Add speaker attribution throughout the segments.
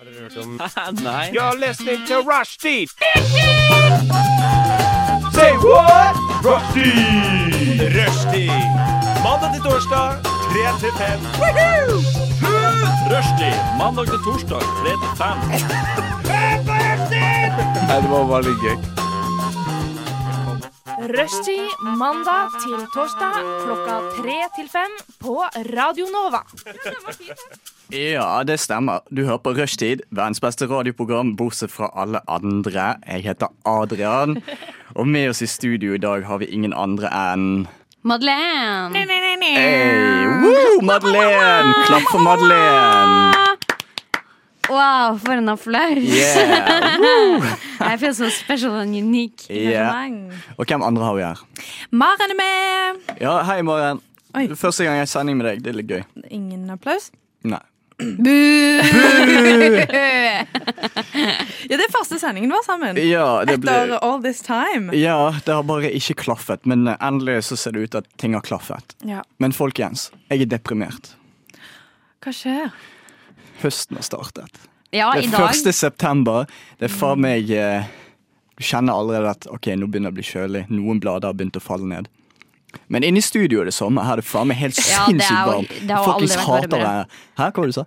Speaker 1: Har dere hørt om
Speaker 2: Nei.
Speaker 1: You're listening to Rushdie! Say what? Rushdie! Rushdie! Mandag til torsdag, 3 til 5. Rushdie! Mandag til torsdag, 3 til 5.
Speaker 2: det var bare litt gøy.
Speaker 3: Rushtid mandag til torsdag klokka tre til fem på Radio Nova.
Speaker 2: Ja, det stemmer. Du hører på Rushtid, verdens beste radioprogram, bortsett fra alle andre. Jeg heter Adrian, og med oss i studio i dag har vi ingen andre enn
Speaker 4: Madeleine!
Speaker 2: hey, woo, Madeleine! Klapp for Madeleine!
Speaker 4: Wow, for en applaus!
Speaker 2: Yeah.
Speaker 4: I feel so special and unique.
Speaker 2: yeah. Og hvem andre har vi her?
Speaker 5: Maren er med!
Speaker 2: Ja, hei, Maren.
Speaker 5: Oi.
Speaker 2: Første gang jeg har sending med deg. Det er litt gøy.
Speaker 5: Ingen applaus.
Speaker 2: Nei.
Speaker 5: Ja, det er første sendingen vår sammen.
Speaker 2: Ja, det
Speaker 5: Etter
Speaker 2: ble...
Speaker 5: all this time.
Speaker 2: Ja, det har bare ikke klaffet, men eh, endelig så ser det ut at ting har klaffet.
Speaker 5: Ja.
Speaker 2: Men folkens, jeg er deprimert.
Speaker 5: Hva skjer?
Speaker 2: Høsten har startet.
Speaker 4: Ja,
Speaker 2: Det
Speaker 4: i
Speaker 2: er
Speaker 4: dag.
Speaker 2: 1. september. Det er faen meg eh, Du kjenner allerede at ok, nå begynner det å bli kjølig. Noen blader har begynt å falle ned. Men inne i studio er det sommer. Her er det faen meg helt
Speaker 4: Ja, det er
Speaker 2: sinnssykt
Speaker 4: jo-
Speaker 2: varmt.
Speaker 4: det har jo
Speaker 2: Folkens
Speaker 4: aldri vært
Speaker 2: hater det her.
Speaker 4: varmere.
Speaker 2: Hæ, hva var det du sa?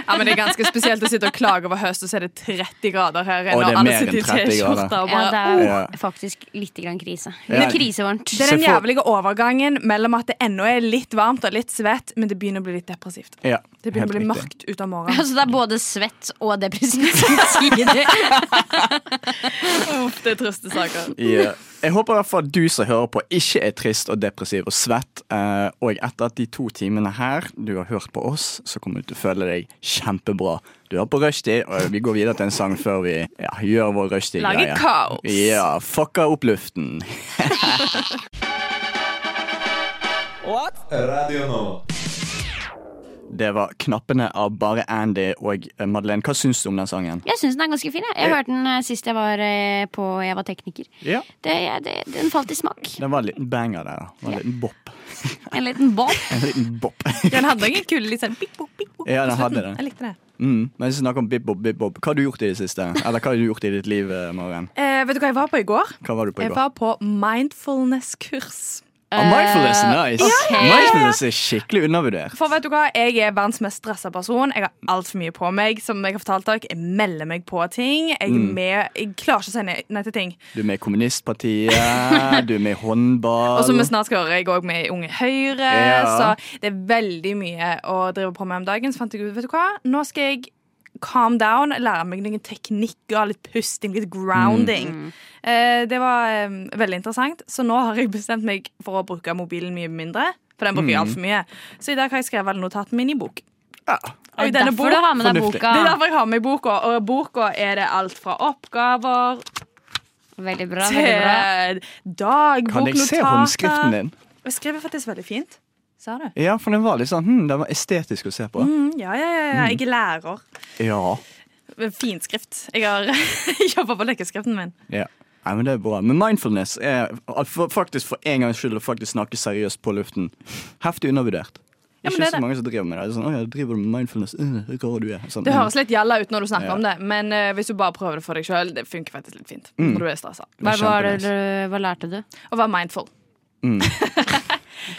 Speaker 5: Ja, men Det er ganske spesielt å sitte og klage over høst, og så er det 30 grader her.
Speaker 2: Og det er
Speaker 5: alle
Speaker 2: mer
Speaker 5: sitter i
Speaker 2: enn 30 grader.
Speaker 5: t-skjorter og
Speaker 4: Ja,
Speaker 5: bare-
Speaker 4: det er jo
Speaker 2: Ja.
Speaker 4: faktisk litt grann krise.
Speaker 2: Ja.
Speaker 4: Litt krisevarmt.
Speaker 5: Det er den
Speaker 2: Se for-
Speaker 5: jævlige overgangen mellom at det ennå er litt varmt og litt svett, men det begynner å bli litt depressivt.
Speaker 2: Ja,
Speaker 5: Det begynner å bli
Speaker 2: helt riktig.
Speaker 5: mørkt ut av morgenen.
Speaker 4: Altså, det er både svett og depressivt samtidig.
Speaker 5: Uff, det er triste saker.
Speaker 2: Ja. Jeg håper i hvert fall at du som hører på, ikke er trist og depressiv og svett. eh, Og etter at de to timene her du har hørt på oss, så kommer du til å føle deg kjempebra. Du hører på rushtid, og vi går videre til en sang før vi ja, gjør vår rushtid-greie.
Speaker 5: Lager kaos.
Speaker 2: Ja, fucka opp luften.
Speaker 6: Radio Nova.
Speaker 2: Det var knappene av Bare Andy og eh, Madeleine. Hva syns du om den sangen?
Speaker 4: Jeg syns den er ganske fin. Jeg, jeg hørte den eh, sist jeg var, eh, på, jeg var tekniker.
Speaker 2: Ja.
Speaker 4: Det, jeg- det, den falt i smak.
Speaker 2: Den var en liten banger der. da. Det var En liten bopp.
Speaker 4: En liten bob.
Speaker 2: En liten bopp.
Speaker 5: Den hadde noen kule litt sånn bip, bop, bip, bop.
Speaker 2: Ja, den
Speaker 5: på
Speaker 2: hadde
Speaker 5: slutten.
Speaker 2: det.
Speaker 5: Jeg likte det.
Speaker 2: Mm. Men snakk om bip-bopp, bip-bopp. Hva har du gjort i det siste? Eller hva har du gjort i ditt liv, eh, Maren?
Speaker 5: Eh, vet du hva jeg var på i går?
Speaker 2: Hva var du på i
Speaker 5: Jeg
Speaker 2: går?
Speaker 5: var på mindfulness-kurs.
Speaker 2: Ah, mindfulness
Speaker 5: eh,
Speaker 2: er nice.
Speaker 4: ok.
Speaker 2: Mindfulness er skikkelig undervurdert.
Speaker 5: For vet du hva, Jeg er verdens mest stressa person. Jeg har altfor mye på meg. Som Jeg har fortalt dere Jeg melder meg på ting. Jeg, er med, jeg klarer ikke å si nei- nei til ting.
Speaker 2: Du er med i kommunistpartiet, du er med i håndball.
Speaker 5: Og som vi snart skal høre, jeg er òg med i Unge Høyre.
Speaker 2: Ja.
Speaker 5: Så det er veldig mye å drive på med om dagen. Så fant jeg ut, vet du hva, nå skal jeg calm down, lære meg noen teknikker, litt pusting, litt grounding. Eh, det var eh, veldig interessant. Så nå har jeg bestemt meg for å bruke mobilen mye mindre. For den bruker jeg altfor mye. Så i dag har jeg skrevet alle notatene mine i bok.
Speaker 2: Ja.
Speaker 5: Og
Speaker 4: Det
Speaker 5: i
Speaker 4: er
Speaker 5: denne
Speaker 4: derfor du
Speaker 5: bok
Speaker 4: har med deg
Speaker 2: Fornuftig.
Speaker 4: boka.
Speaker 5: Det er derfor jeg har med i boka, og i boka er det alt fra oppgaver
Speaker 4: Veldig bra. veldig bra.
Speaker 5: til dagboknotater.
Speaker 2: Kan jeg se håndskriften din?
Speaker 5: Jeg skriver faktisk veldig fint. Sa du?
Speaker 2: Ja, for den var litt sånn hm, Den var estetisk å se på.
Speaker 5: Mm, ja, ja, ja, ja, jeg er lærer.
Speaker 2: Ja.
Speaker 5: Finskrift. Jeg har jobba på løkkeskriften min.
Speaker 2: ja. Nei, men det er bra. Men mindfulness er for, faktisk for en gangs skyld å faktisk snakke seriøst på luften. Heftig undervurdert.
Speaker 5: Ja,
Speaker 2: ikke
Speaker 5: men det
Speaker 2: så
Speaker 5: er det.
Speaker 2: mange som driver med det. det er sånn, «Å, ja, driver du med mindfulness? Øh, hvor rar du er. Sånn,
Speaker 5: Det
Speaker 2: «Mm,
Speaker 5: høres litt gjalla ut når du snakker
Speaker 2: Ja.
Speaker 5: om det, men eh, hvis du bare prøver det for deg sjøl, det funker faktisk litt fint.
Speaker 2: Mm.
Speaker 5: Når du er stressa.
Speaker 4: Hva,
Speaker 2: det er
Speaker 4: var det
Speaker 2: kjempenice.
Speaker 4: du, hva lærte du?
Speaker 5: Å være mindful.
Speaker 2: Mm.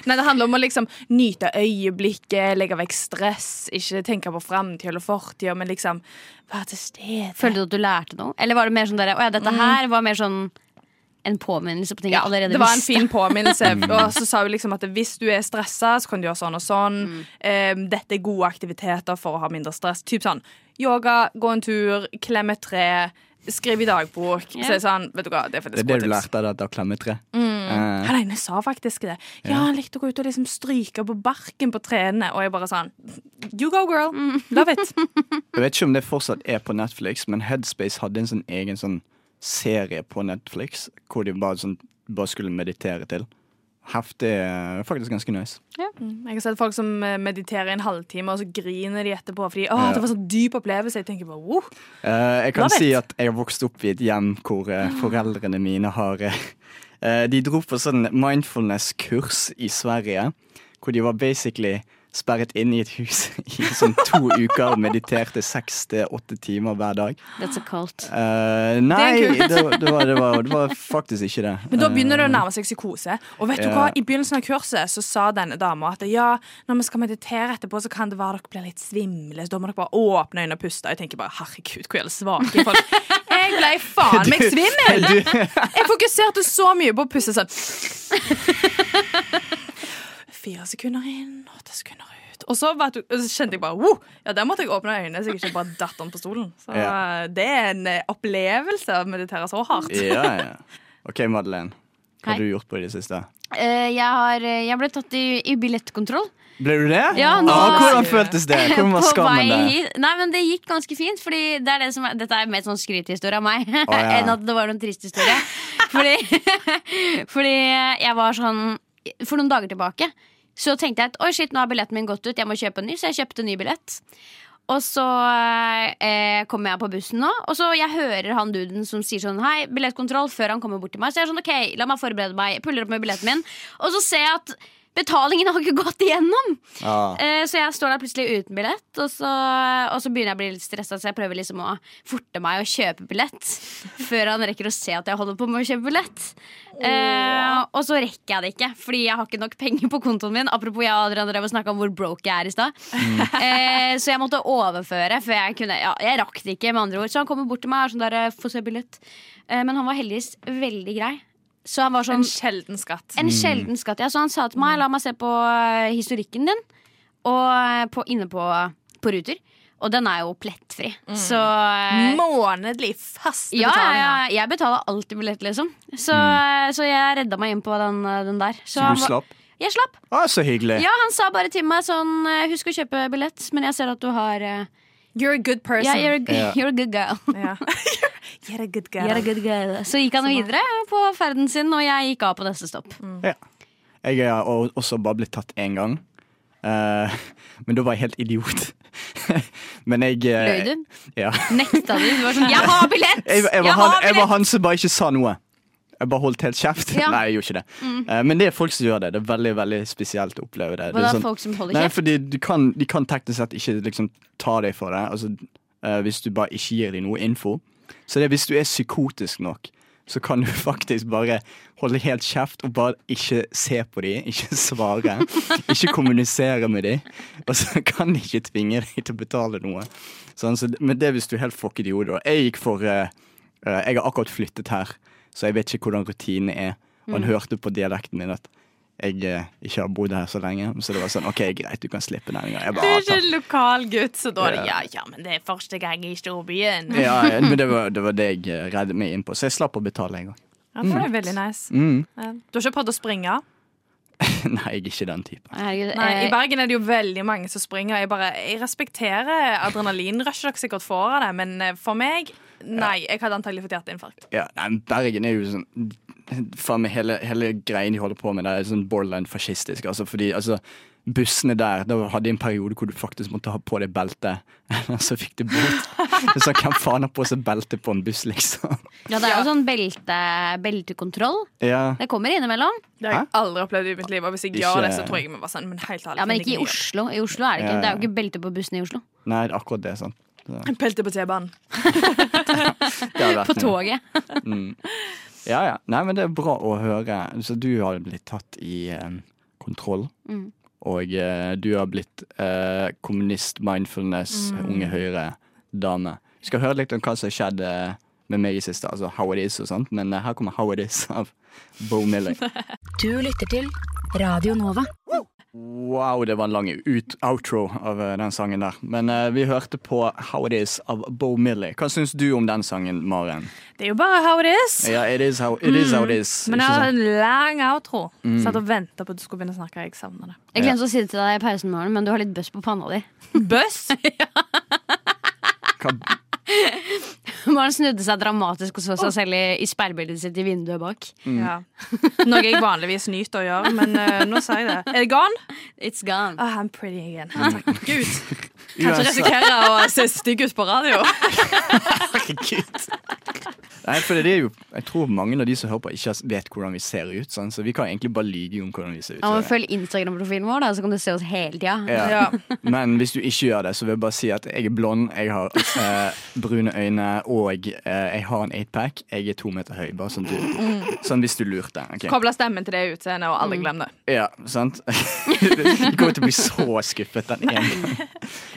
Speaker 5: Nei, Det handler om å liksom nyte øyeblikket, legge vekk stress, ikke tenke på framtid eller fortid, men liksom være til stede.
Speaker 4: Følte du at du lærte noe? Eller var det mer sånn der, «Å ja, dette her var mer sånn en påminnelse på ting jeg allerede
Speaker 5: det var en
Speaker 4: visste?
Speaker 5: fin påminnelse. Og så sa hun liksom at hvis du er stressa, så kan du gjøre sånn og sånn.
Speaker 2: Mm.
Speaker 5: Em, dette er gode aktiviteter for å ha mindre stress. Typ sånn yoga, gå en tur, klem et tre, skriv i dagbok.
Speaker 4: Ja.
Speaker 5: Så er det sånn, vet du hva, det er
Speaker 2: Det
Speaker 5: faktisk
Speaker 2: er det
Speaker 5: gode
Speaker 2: du
Speaker 5: tips.
Speaker 2: lærte av dette klemmetreet?
Speaker 5: Mm.
Speaker 2: Eh,
Speaker 5: Han ene sa faktisk det. Ja, han likte å gå ut og liksom stryke på barken på trærne. Og jeg bare sånn You go, girl.
Speaker 2: Mm.
Speaker 5: Love it.
Speaker 2: Jeg vet ikke om det fortsatt er på Netflix, men Headspace hadde en sånn egen sånn serie på Netflix hvor de bare, sånn, bare skulle meditere til. Heftig. eh, Faktisk ganske nice.
Speaker 5: Jeg har sett folk som eh, mediterer i en halvtime, og så griner de etterpå fordi å,
Speaker 2: Ja.
Speaker 5: det var sånn dyp opplevelse. Jeg tenker bare wow.
Speaker 2: Eh, jeg kan
Speaker 5: Love it. Ah.
Speaker 2: si at jeg har vokst opp i et hjem hvor eh, foreldrene mine har eh, eh, De dro på sånn mindfulness-kurs i Sverige, hvor de var basically sperret inne i et hus i sånn to uker og mediterte seks til åtte timer hver dag.
Speaker 4: That's a cult.
Speaker 2: Eh, nei, det, var- det, var, det, var, det var faktisk ikke det. Eh,
Speaker 5: Men da begynner det å nærme seg psykose. Og vet du
Speaker 2: Ja.
Speaker 5: hva, I begynnelsen av kurset så sa denne dama at ja, når vi skal meditere etterpå, så kan det være dere blir litt svimle. Så da må dere bare åpne øynene og puste. Og Jeg tenker bare herregud, hvor jævlig svake folk. Jeg ble faen meg svimmel! Jeg fokuserte så mye på å puste sånn. Fire sekunder inn, åtte sekunder ut. Og så, vet du, og så kjente jeg bare wow, ja, der måtte jeg åpne øynene så jeg ikke bare datt om på stolen. Så
Speaker 2: Ja.
Speaker 5: det er en eh, opplevelse å meditere så hardt.
Speaker 2: Ja, ja. OK, Madeleine. Hva
Speaker 4: Hei.
Speaker 2: har du gjort på i det siste?
Speaker 4: Eh, jeg, har, eh, jeg ble tatt i, i billettkontroll.
Speaker 2: Ble du det?
Speaker 4: Ja, nå-
Speaker 2: ah, hvordan føltes det? Hvordan var skammen der?
Speaker 4: hit. Nei, men det gikk ganske fint. Fordi det er det som er, dette er mer sånn skrythistorie av meg
Speaker 2: ja.
Speaker 4: enn at det var noen trist historie. fordi, fordi jeg var sånn For noen dager tilbake så tenkte jeg at oi shit, nå har billetten min gått ut, jeg må kjøpe en ny. Så jeg kjøpte en ny billett. Og så eh, kommer jeg på bussen nå, og så jeg hører han duden som sier sånn Hei, billettkontroll, før han kommer bort til meg. Så jeg er sånn, ok, la meg forberede meg, jeg puller opp med billetten min. Og så ser jeg at betalingen har ikke gått igjennom.
Speaker 2: Ah.
Speaker 4: Eh, Så jeg står der plutselig uten billett, og så, og så begynner jeg å bli litt stressa. Så jeg prøver liksom å forte meg å kjøpe billett før han rekker å se at jeg holder på med å kjøpe billett. Eh, og så rekker jeg det ikke, fordi jeg har ikke nok penger på kontoen min. Apropos jeg og Adrian drev og snakka om hvor broke jeg er i stad. Eh, så jeg måtte overføre før jeg kunne ja, Jeg rakk det ikke, med andre ord. Så han kommer bort til meg og er sånn der eh, Få se billett. Eh, men han var heldigvis veldig grei. Så han var sånn
Speaker 5: En sjelden skatt.
Speaker 2: Mm.
Speaker 4: en sjelden skatt. Ja, så han sa til meg la meg se på eh, historikken din og eh, på, inne på, på Ruter. Og den er jo plettfri. Så eh,
Speaker 5: Månedlig fast
Speaker 4: ja, ja,
Speaker 5: betaling.
Speaker 4: ja,
Speaker 5: her.
Speaker 4: jeg betaler alltid billett, liksom. Så, eh, så jeg redda meg inn på den, eh, den der. Så, han
Speaker 2: Mm. Du
Speaker 4: var-
Speaker 2: slapp?
Speaker 4: Jeg slapp.
Speaker 2: Ah, så hyggelig.
Speaker 4: Ja, han sa bare til meg sånn eh, Husk å kjøpe billett, men jeg ser at du har eh,
Speaker 5: You're a good person.
Speaker 4: yeah, you're, a, g-
Speaker 2: Ja.
Speaker 4: you're a good girl.
Speaker 5: Ja. You're a good girl.
Speaker 4: You're a good girl. Så Mm. gikk han videre på ferden sin, og jeg gikk av på neste stopp.
Speaker 2: Ja. Jeg har o- også bare blitt tatt én gang. Eh, men da var jeg helt idiot. men jeg eh,
Speaker 4: Løy du?
Speaker 2: Ja.
Speaker 4: Nekta du? Du var sånn 'Jeg har billett!'
Speaker 2: Jeg, jeg, var
Speaker 4: Jeg
Speaker 2: han,
Speaker 4: har
Speaker 2: jeg
Speaker 4: billett!
Speaker 2: var han som bare ikke sa noe. Jeg bare holdt helt kjeft.
Speaker 4: Ja. Mm.
Speaker 2: Nei, jeg gjorde ikke det. Eh, men det er folk som gjør det. Det er veldig veldig spesielt å oppleve det.
Speaker 4: Hva
Speaker 2: det
Speaker 4: da,
Speaker 2: er sånn-
Speaker 4: folk som holder
Speaker 2: nei,
Speaker 4: kjeft?
Speaker 2: fordi du kan, De kan teknisk sett ikke liksom, ta deg for det. Altså, eh, hvis du bare ikke gir dem noe info. Så det er hvis du er psykotisk nok, så kan du faktisk bare holde helt kjeft og bare ikke se på dem, ikke svare, ikke kommunisere med dem. Og så kan de ikke tvinge deg til å betale noe. Sånn, så, men det er hvis du er helt fucket i hodet. Og Jeg gikk for eh, eh, Jeg har akkurat flyttet her, så jeg vet ikke hvordan rutinene er. Og han hørte på dialekten min at jeg eh, ikke har bodd her så lenge. Så det var sånn OK, greit, du kan slippe denne gangen. Jeg
Speaker 5: Du
Speaker 2: bare,
Speaker 5: er
Speaker 2: ah,
Speaker 5: ikke
Speaker 2: takk.
Speaker 5: en lokal gutt, så da er det
Speaker 2: Ja.
Speaker 5: ja, ja, men det er første gang i storbyen.
Speaker 2: ja, ja, men det var, det var det jeg eh, reddet meg inn på, så jeg slapp å betale en gang.
Speaker 5: Ja, for det er veldig nice.
Speaker 2: Mm.
Speaker 5: Ja. Du har ikke prøvd å springe?
Speaker 2: Nei, jeg er ikke den typen.
Speaker 4: Herregud,
Speaker 5: Nei,
Speaker 4: eh,
Speaker 5: I Bergen er det jo veldig mange som springer. Jeg, bare, jeg respekterer adrenalinrushet dere sikkert får av det, men eh, for meg Nei, jeg hadde antagelig fått hjerteinfarkt.
Speaker 2: Ja, nei, men Bergen er jo sånn Faen meg hele, hele greien de holder på med der, er sånn borderline fascistisk. Altså, fordi altså, bussene der Da hadde de en periode hvor du faktisk måtte ha på deg belte. Eller så fikk du bot. Det er Sånn, hvem faen har på seg belte på en buss, liksom?
Speaker 4: ja, det er jo sånn belte, beltekontroll.
Speaker 2: Ja.
Speaker 4: Det kommer innimellom.
Speaker 5: Det har jeg aldri opplevd i mitt liv. Og hvis jeg
Speaker 2: Ikke-
Speaker 5: gjør det, så tror jeg vi var sånn, men helt ærlig
Speaker 4: Ja, Men ikke i
Speaker 5: finner jeg
Speaker 4: Oslo. I Oslo er Det ikke
Speaker 2: Ja, ja.
Speaker 4: Det er jo ikke belte på bussene i Oslo.
Speaker 2: Nei, det er akkurat det. sant
Speaker 5: ikke i det. Pelte på T-banen.
Speaker 2: Det hadde vært
Speaker 4: På
Speaker 2: noe.
Speaker 4: toget.
Speaker 2: Ja, ja. Nei, men det er bra å høre. Så du har blitt tatt i eh, kontroll.
Speaker 6: Mm.
Speaker 2: Og eh, du har blitt eh, kommunist, mindfulness,
Speaker 6: Mm.
Speaker 2: unge høyre-dame. Vi skal høre litt om hva som skjedde med meg i siste, altså how it is og sånt. Men eh, her kommer how it is av Bo Miller.
Speaker 6: Du lytter til Radio Nova.
Speaker 2: Wow, det var en lang ut outro av eh, den sangen der. Men eh, vi hørte på How It Is av Bo Miller. Hva syns du om den sangen, Maren?
Speaker 5: Det er jo bare how it is.
Speaker 2: Ja, it is how it is. How
Speaker 4: Mm.
Speaker 2: it is. ikke sånn
Speaker 5: Men jeg
Speaker 2: sant?
Speaker 5: har en lang outro. Satt og venta på at du skulle begynne å snakke. Jeg savner det.
Speaker 4: Jeg glemte å si det til deg i pausen, Maren, men du har litt bøss på panna di.
Speaker 5: Bøss?
Speaker 2: Hva-
Speaker 4: Maren snudde seg dramatisk og så seg selv i, i speilbildet sitt i vinduet bak.
Speaker 5: Ja. Noe jeg vanligvis nyter å gjøre, men eh, nå sier jeg det. Er det gone?
Speaker 4: It's gone.
Speaker 5: Oh, I'm pretty again. Takk Gud. Kanskje
Speaker 2: Uansett-
Speaker 5: risikerer å se stygg ut på radio.
Speaker 2: Herregud. Nei, for det er jo, jeg tror mange av de som hører på, ikke vet hvordan vi ser ut. Sånn, så vi kan egentlig bare lyge om hvordan vi ser ut.
Speaker 4: Ja, men
Speaker 2: så-
Speaker 4: Følg Instagram-profilen vår, da, så kan du se oss hele tida.
Speaker 2: Ja.
Speaker 5: Ja.
Speaker 2: Men hvis du ikke gjør det, så vil jeg bare si at jeg er blond, jeg har eh, brune øyne, og eh, jeg har en 8-pack. Jeg er to meter høy, bare sånn, du,
Speaker 4: Mm.
Speaker 2: sånn hvis du lurte. ok?
Speaker 5: Kobla stemmen til det utseendet, og alle glemmer det.
Speaker 2: Ja, sant? Du kommer til å bli så skuffet den ene gangen.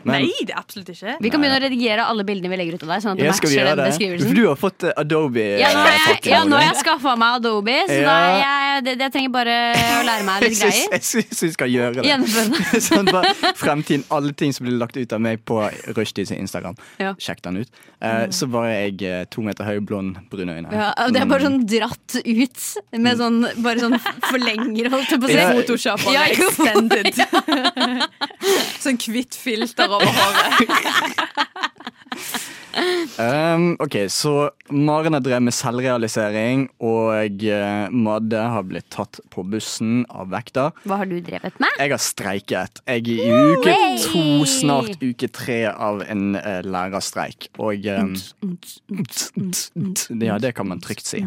Speaker 5: Nei, det er absolutt ikke.
Speaker 4: Vi kan begynne å redigere alle bildene vi legger ut av deg. Sånn at det
Speaker 2: jeg skal vi
Speaker 4: matcher
Speaker 2: gjøre
Speaker 4: den
Speaker 2: det. For
Speaker 4: beskrivelsen
Speaker 2: du har fått eh, Adobe. eh,
Speaker 4: ja, nå har jeg,
Speaker 2: pakken
Speaker 4: ja,
Speaker 2: vår.
Speaker 4: nå har jeg skaffa meg Adobe, så da er jeg, det, det jeg trenger bare å lære meg
Speaker 2: Jeg
Speaker 4: litt
Speaker 2: syns-
Speaker 4: greier.
Speaker 2: Jeg syns vi skal gjøre det.
Speaker 4: Gjennomføre det.
Speaker 2: sånn bare fremtiden, alle ting som blir lagt ut av meg på Rushdie sin Instagram.
Speaker 4: Ja. Mm.
Speaker 2: Sjekk den ut. Eh, så var jeg eh, to meter høy, blond, brune øyne.
Speaker 4: Ja, og det er
Speaker 2: Mm.
Speaker 4: bare sånn dratt ut, med sånn, bare sånn forlenger, holdt jeg på å si.
Speaker 2: Ja.
Speaker 5: Photoshop og
Speaker 4: Ja, jo.
Speaker 5: extended. sånn hvitt filter over håret.
Speaker 2: Um, ok, så Maren har drevet med selvrealisering, og eh, Madde har blitt tatt på bussen av vekter.
Speaker 4: Hva har du drevet med?
Speaker 2: Jeg har streiket. Jeg er i uke to, snart uke tre av en eh, lærerstreik. Og eh,
Speaker 4: Mm.
Speaker 2: Ja, det kan man trygt si.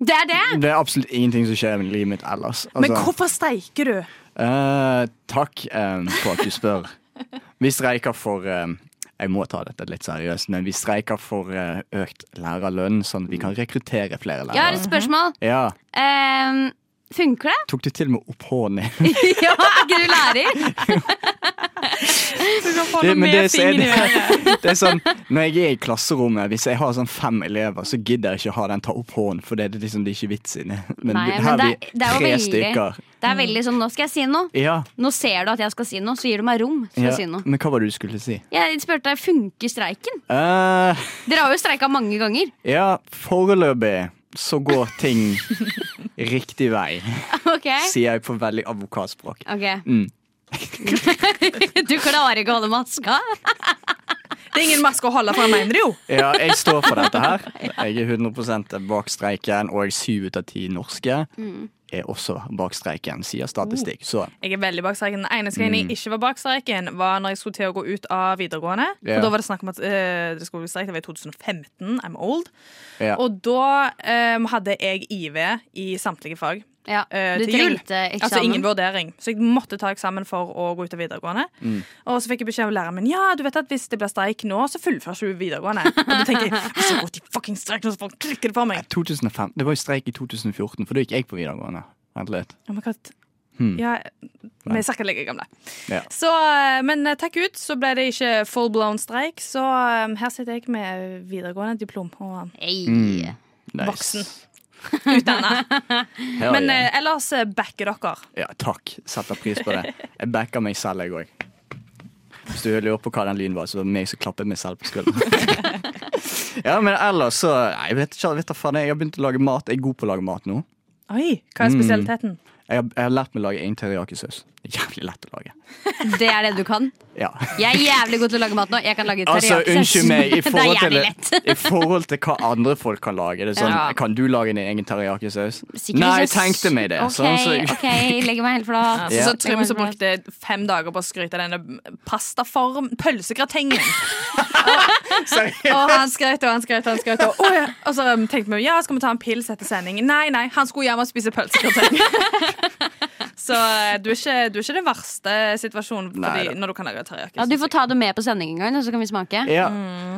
Speaker 4: Det er det!
Speaker 2: Det er absolutt ingenting som skjer i livet mitt ellers. Altså,
Speaker 5: Men hvorfor streiker du?
Speaker 2: eh, takk eh, for at du spør. Vi streiker for eh, Jeg må ta dette litt seriøst, men vi streiker for eh, økt lærerlønn, sånn at vi kan rekruttere flere
Speaker 4: Jeg har
Speaker 2: lærere.
Speaker 4: et spørsmål.
Speaker 2: Ja,
Speaker 4: Ehm, funker det?
Speaker 2: Tok du til og med opp hånden?
Speaker 4: Ja, er ikke du lærer?
Speaker 5: Du kan få
Speaker 2: Det-
Speaker 5: noe
Speaker 2: men
Speaker 5: med
Speaker 2: det-
Speaker 5: fingeren i
Speaker 2: det-
Speaker 5: øret.
Speaker 2: Det er sånn, Når jeg er i klasserommet, hvis jeg har sånn fem elever, så gidder jeg ikke å ha den ta opp hånden, for det er liksom det er ikke vits i det. Men
Speaker 4: Nei,
Speaker 2: her
Speaker 4: men
Speaker 2: er
Speaker 4: det,
Speaker 2: vi
Speaker 4: er- det
Speaker 2: tre
Speaker 4: er jo veldig,
Speaker 2: stykker.
Speaker 4: det er veldig sånn Nå skal jeg si noe.
Speaker 2: Ja,
Speaker 4: Nå ser du at jeg skal si noe, så gir du meg rom for
Speaker 2: ja.
Speaker 4: å si noe.
Speaker 2: Men hva var det du skulle si?
Speaker 4: Jeg spurte deg, funker streiken?
Speaker 2: Eh,
Speaker 4: Dere har jo streika mange ganger.
Speaker 2: ja, foreløpig så går ting riktig vei,
Speaker 4: Ok,
Speaker 2: sier jeg på veldig advokatspråk.
Speaker 4: ok
Speaker 2: Mm.
Speaker 4: Du klarer ikke å holde maska?
Speaker 5: Det er ingen maske å holde, for han mener det jo.
Speaker 2: Ja, jeg står for dette her. Jeg er 100 bak streiken, og syv ut av ti norske
Speaker 5: Mm.
Speaker 2: er også bak streiken, sier statistikk. Så
Speaker 5: Jeg er veldig bak streiken. Den eneste gangen
Speaker 2: Mm.
Speaker 5: jeg ikke var bak streiken, var når jeg skulle til å gå ut av videregående.
Speaker 2: Ja.
Speaker 5: Og da var det snakk om at eh, det skulle bli streik. Det var i 2015. I'm old.
Speaker 2: ja.
Speaker 5: Og da eh, hadde jeg IV i samtlige fag.
Speaker 4: Ja,
Speaker 5: eh,
Speaker 4: du
Speaker 5: til jul.
Speaker 4: trengte eksamen.
Speaker 5: Altså ingen vurdering. Så jeg måtte ta eksamen for å gå ut av videregående.
Speaker 2: Mm.
Speaker 5: Og så fikk jeg beskjed av læreren min Ja, du vet at hvis det blir streik nå, så fullfører ikke du videregående. Og da tenker jeg jeg skal gå til fucking streik nå, så folk klikker det for meg.
Speaker 2: 2005. Det var jo streik i 2014, for da gikk jeg på videregående. Vent litt.
Speaker 5: Oh my God.
Speaker 2: Hmm.
Speaker 5: Ja, vi
Speaker 2: Nei.
Speaker 5: er cirka like gamle.
Speaker 2: Ja.
Speaker 5: Så, eh, men eh, takk ut, så ble det ikke full blown streik. Så eh, her sitter jeg med videregående diplom og
Speaker 4: Ei.
Speaker 2: Mm. Nice.
Speaker 5: Voksen. utdanna.
Speaker 2: Hell
Speaker 5: Men
Speaker 2: yeah.
Speaker 5: eh, ellers eh, backer dere.
Speaker 2: Ja, takk. Setter pris på det. Jeg backer meg selv, jeg òg. Hvis du lurer på hva den lyden var, så var det meg som klappet meg selv på skulderen. ja, men ellers så Nei, Jeg vet ikke, jeg vet da faen. Jeg har begynt å lage mat. Jeg er god på å lage mat nå.
Speaker 5: Oi, hva er
Speaker 2: Mm.
Speaker 5: spesialiteten?
Speaker 2: Jeg har, jeg har lært meg å lage egen teriyaki-saus. Det er Jævlig lett å lage.
Speaker 4: Det er det du kan.
Speaker 2: Ja.
Speaker 4: Jeg er jævlig god til å lage mat nå. Jeg kan lage
Speaker 2: Altså,
Speaker 4: teriyaki-saus.
Speaker 2: unnskyld meg, i
Speaker 4: Det er
Speaker 2: forhold, til,
Speaker 4: jævlig lett.
Speaker 2: i forhold til hva andre folk kan lage. Det er sånn,
Speaker 5: Ja.
Speaker 2: Kan du lage din egen teriyaki-saus?
Speaker 4: Sikkert
Speaker 2: Nei,
Speaker 4: ikke
Speaker 2: jeg tenkte meg det.
Speaker 4: Ok,
Speaker 2: Sånn, så,
Speaker 4: ok, legger meg helt flat.
Speaker 5: Altså, så
Speaker 4: Legger meg
Speaker 5: Trym som
Speaker 4: helt flat.
Speaker 5: brukte fem dager på å skryte av denne pastaform pølsegratengen.
Speaker 2: Seriøst?
Speaker 5: Og han skrøt og han skrøt. Og han skrøt og, «Å, ja. og så um, tenkte vi ja, skal vi ta en pils etter sending. Nei, nei, han skulle hjem og spise pølsegrateng. så eh, du er, ikke, du er ikke den verste situasjonen
Speaker 2: Nei,
Speaker 5: fordi,
Speaker 2: da.
Speaker 5: når du kan lage teriyaki.
Speaker 4: Ja, du får ta det med på sending en gang, så kan vi smake.
Speaker 2: Ja.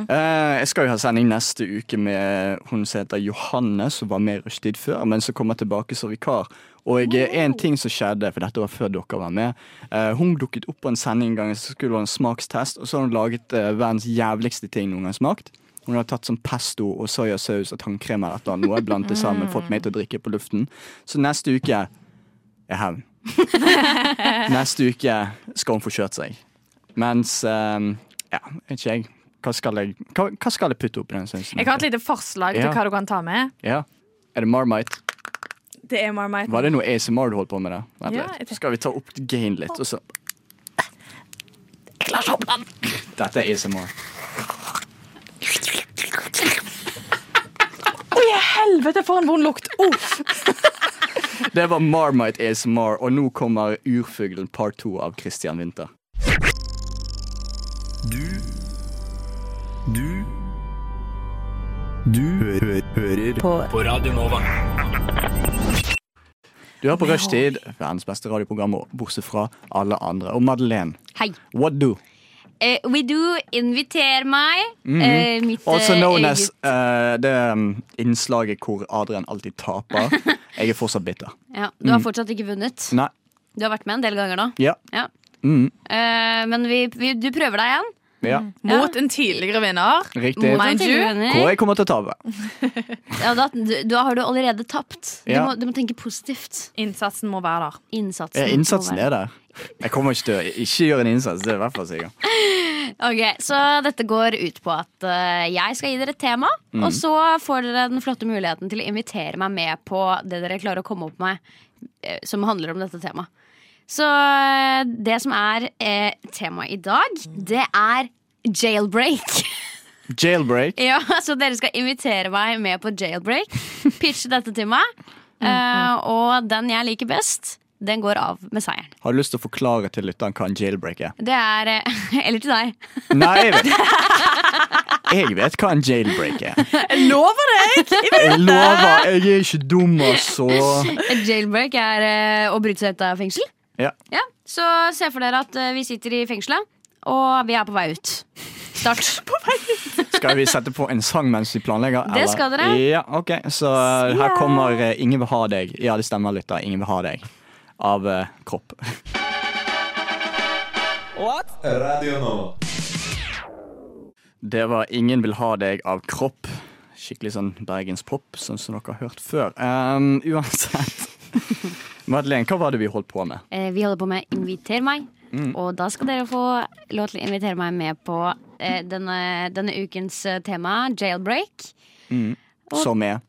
Speaker 2: Eh, jeg skal jo ha sending neste uke med hun som heter Johanne, som var med i Rushtid før, men som kommer tilbake som vikar. Og eh, en ting som skjedde, for dette var før dere var med eh, Hun dukket opp på en sending en gang, så skulle hun ha en smakstest, og så har hun laget eh, verdens jævligste ting noen gang smakt. Hun har tatt sånn pesto og soyasaus og tannkrem eller et eller annet, noe, blandet det sammen, fått meg til å drikke på luften. Så neste uke er hevn. neste uke skal hun få kjørt seg. Mens eh, Ja, vet ikke jeg. Hva skal jeg, hva, hva skal jeg putte oppi den sausen?
Speaker 5: Jeg har et lite forslag til
Speaker 2: Ja.
Speaker 5: hva du kan ta med.
Speaker 2: Ja. Er det Marmite?
Speaker 5: Det er Marmite.
Speaker 2: Var det noe ASMR du holdt på med? da? Vent
Speaker 5: Ja,
Speaker 2: litt.
Speaker 5: jeg tenker-
Speaker 2: Skal vi ta opp gain litt, og så Dette er ASMR.
Speaker 5: Oi, helvete, for en vond lukt! Oh.
Speaker 2: Det var Marmite ASMR, og nå kommer Urfuglen part 2 av Christian Winther.
Speaker 7: Du Du Du hø hø hører på.
Speaker 2: Du hører på Rushtid, verdens beste radioprogram, og bortsett fra alle andre. Og Madeleine,
Speaker 4: Hei.
Speaker 2: what do?
Speaker 4: Eh, we do inviter meg. eh, mitt,
Speaker 2: Mhm. Also
Speaker 4: eh,
Speaker 2: known
Speaker 4: eget-
Speaker 2: as eh, det um, innslaget hvor Adrian alltid taper. Jeg er fortsatt bitter.
Speaker 4: ja, Du har fortsatt ikke vunnet.
Speaker 2: Mm. Nei.
Speaker 4: Du har vært med en del ganger nå.
Speaker 2: Ja.
Speaker 4: Ja.
Speaker 2: Mm.
Speaker 4: Eh, men vi, vi, du prøver deg igjen.
Speaker 2: Ja.
Speaker 5: Mot en tidligere vinner.
Speaker 2: Riktig.
Speaker 4: Mot en
Speaker 5: Mind you,
Speaker 4: tidligere vinner.
Speaker 2: Hvor jeg kommer til å tape.
Speaker 4: Ja, da, du- da har du allerede tapt. Du,
Speaker 2: Ja.
Speaker 4: må, du må tenke positivt.
Speaker 5: Innsatsen må være der.
Speaker 4: Innsatsen.
Speaker 2: Eh, Innsatsen
Speaker 4: må
Speaker 2: er
Speaker 4: være-
Speaker 2: der. Jeg kommer ikke til å ikke gjøre en innsats. Det er i hvert fall sikkert.
Speaker 4: Ok, Så dette går ut på at eh, jeg skal gi dere et tema, og så får dere den flotte muligheten til å invitere meg med på det dere klarer å komme opp med eh, som handler om dette temaet. Så eh, det som er eh, temaet i dag, det er jailbreak.
Speaker 2: Jailbreak.
Speaker 4: Ja, så dere skal invitere meg med på jailbreak. Pitche dette til meg. eh, og den jeg liker best, den går av med seieren.
Speaker 2: Har du lyst til å forklare til lytteren hva en jailbreak er?
Speaker 4: Det er eh, Eller til deg.
Speaker 2: Nei, jeg vet Jeg vet hva en jailbreak er.
Speaker 5: Jeg lover deg!
Speaker 2: Jeg lover, jeg er ikke dum, altså.
Speaker 4: Et Jailbreak er eh, å bryte seg ut av fengsel.
Speaker 2: Ja.
Speaker 4: Ja, Så se for dere at eh, vi sitter i fengselet, og vi er på vei ut. Start.
Speaker 2: Skal vi sette på en sang mens vi planlegger?
Speaker 4: Det skal dere.
Speaker 2: Ja, ok Så eh, her kommer eh, 'Ingen vil ha deg'. Ja, det stemmer, lytter. 'Ingen vil ha deg' av eh, Kropp.
Speaker 1: Radio Nova.
Speaker 2: Det var 'Ingen vil ha deg' av Kropp. Skikkelig sånn bergenspop, sånn som dere har hørt før. Ehm, uansett. Madeleine, hva var det vi holdt på med?
Speaker 4: Eh, vi holder på med Inviter meg. Og da skal dere få lov til å invitere meg med på eh, denne, denne ukens eh, tema, jailbreak.
Speaker 2: Som er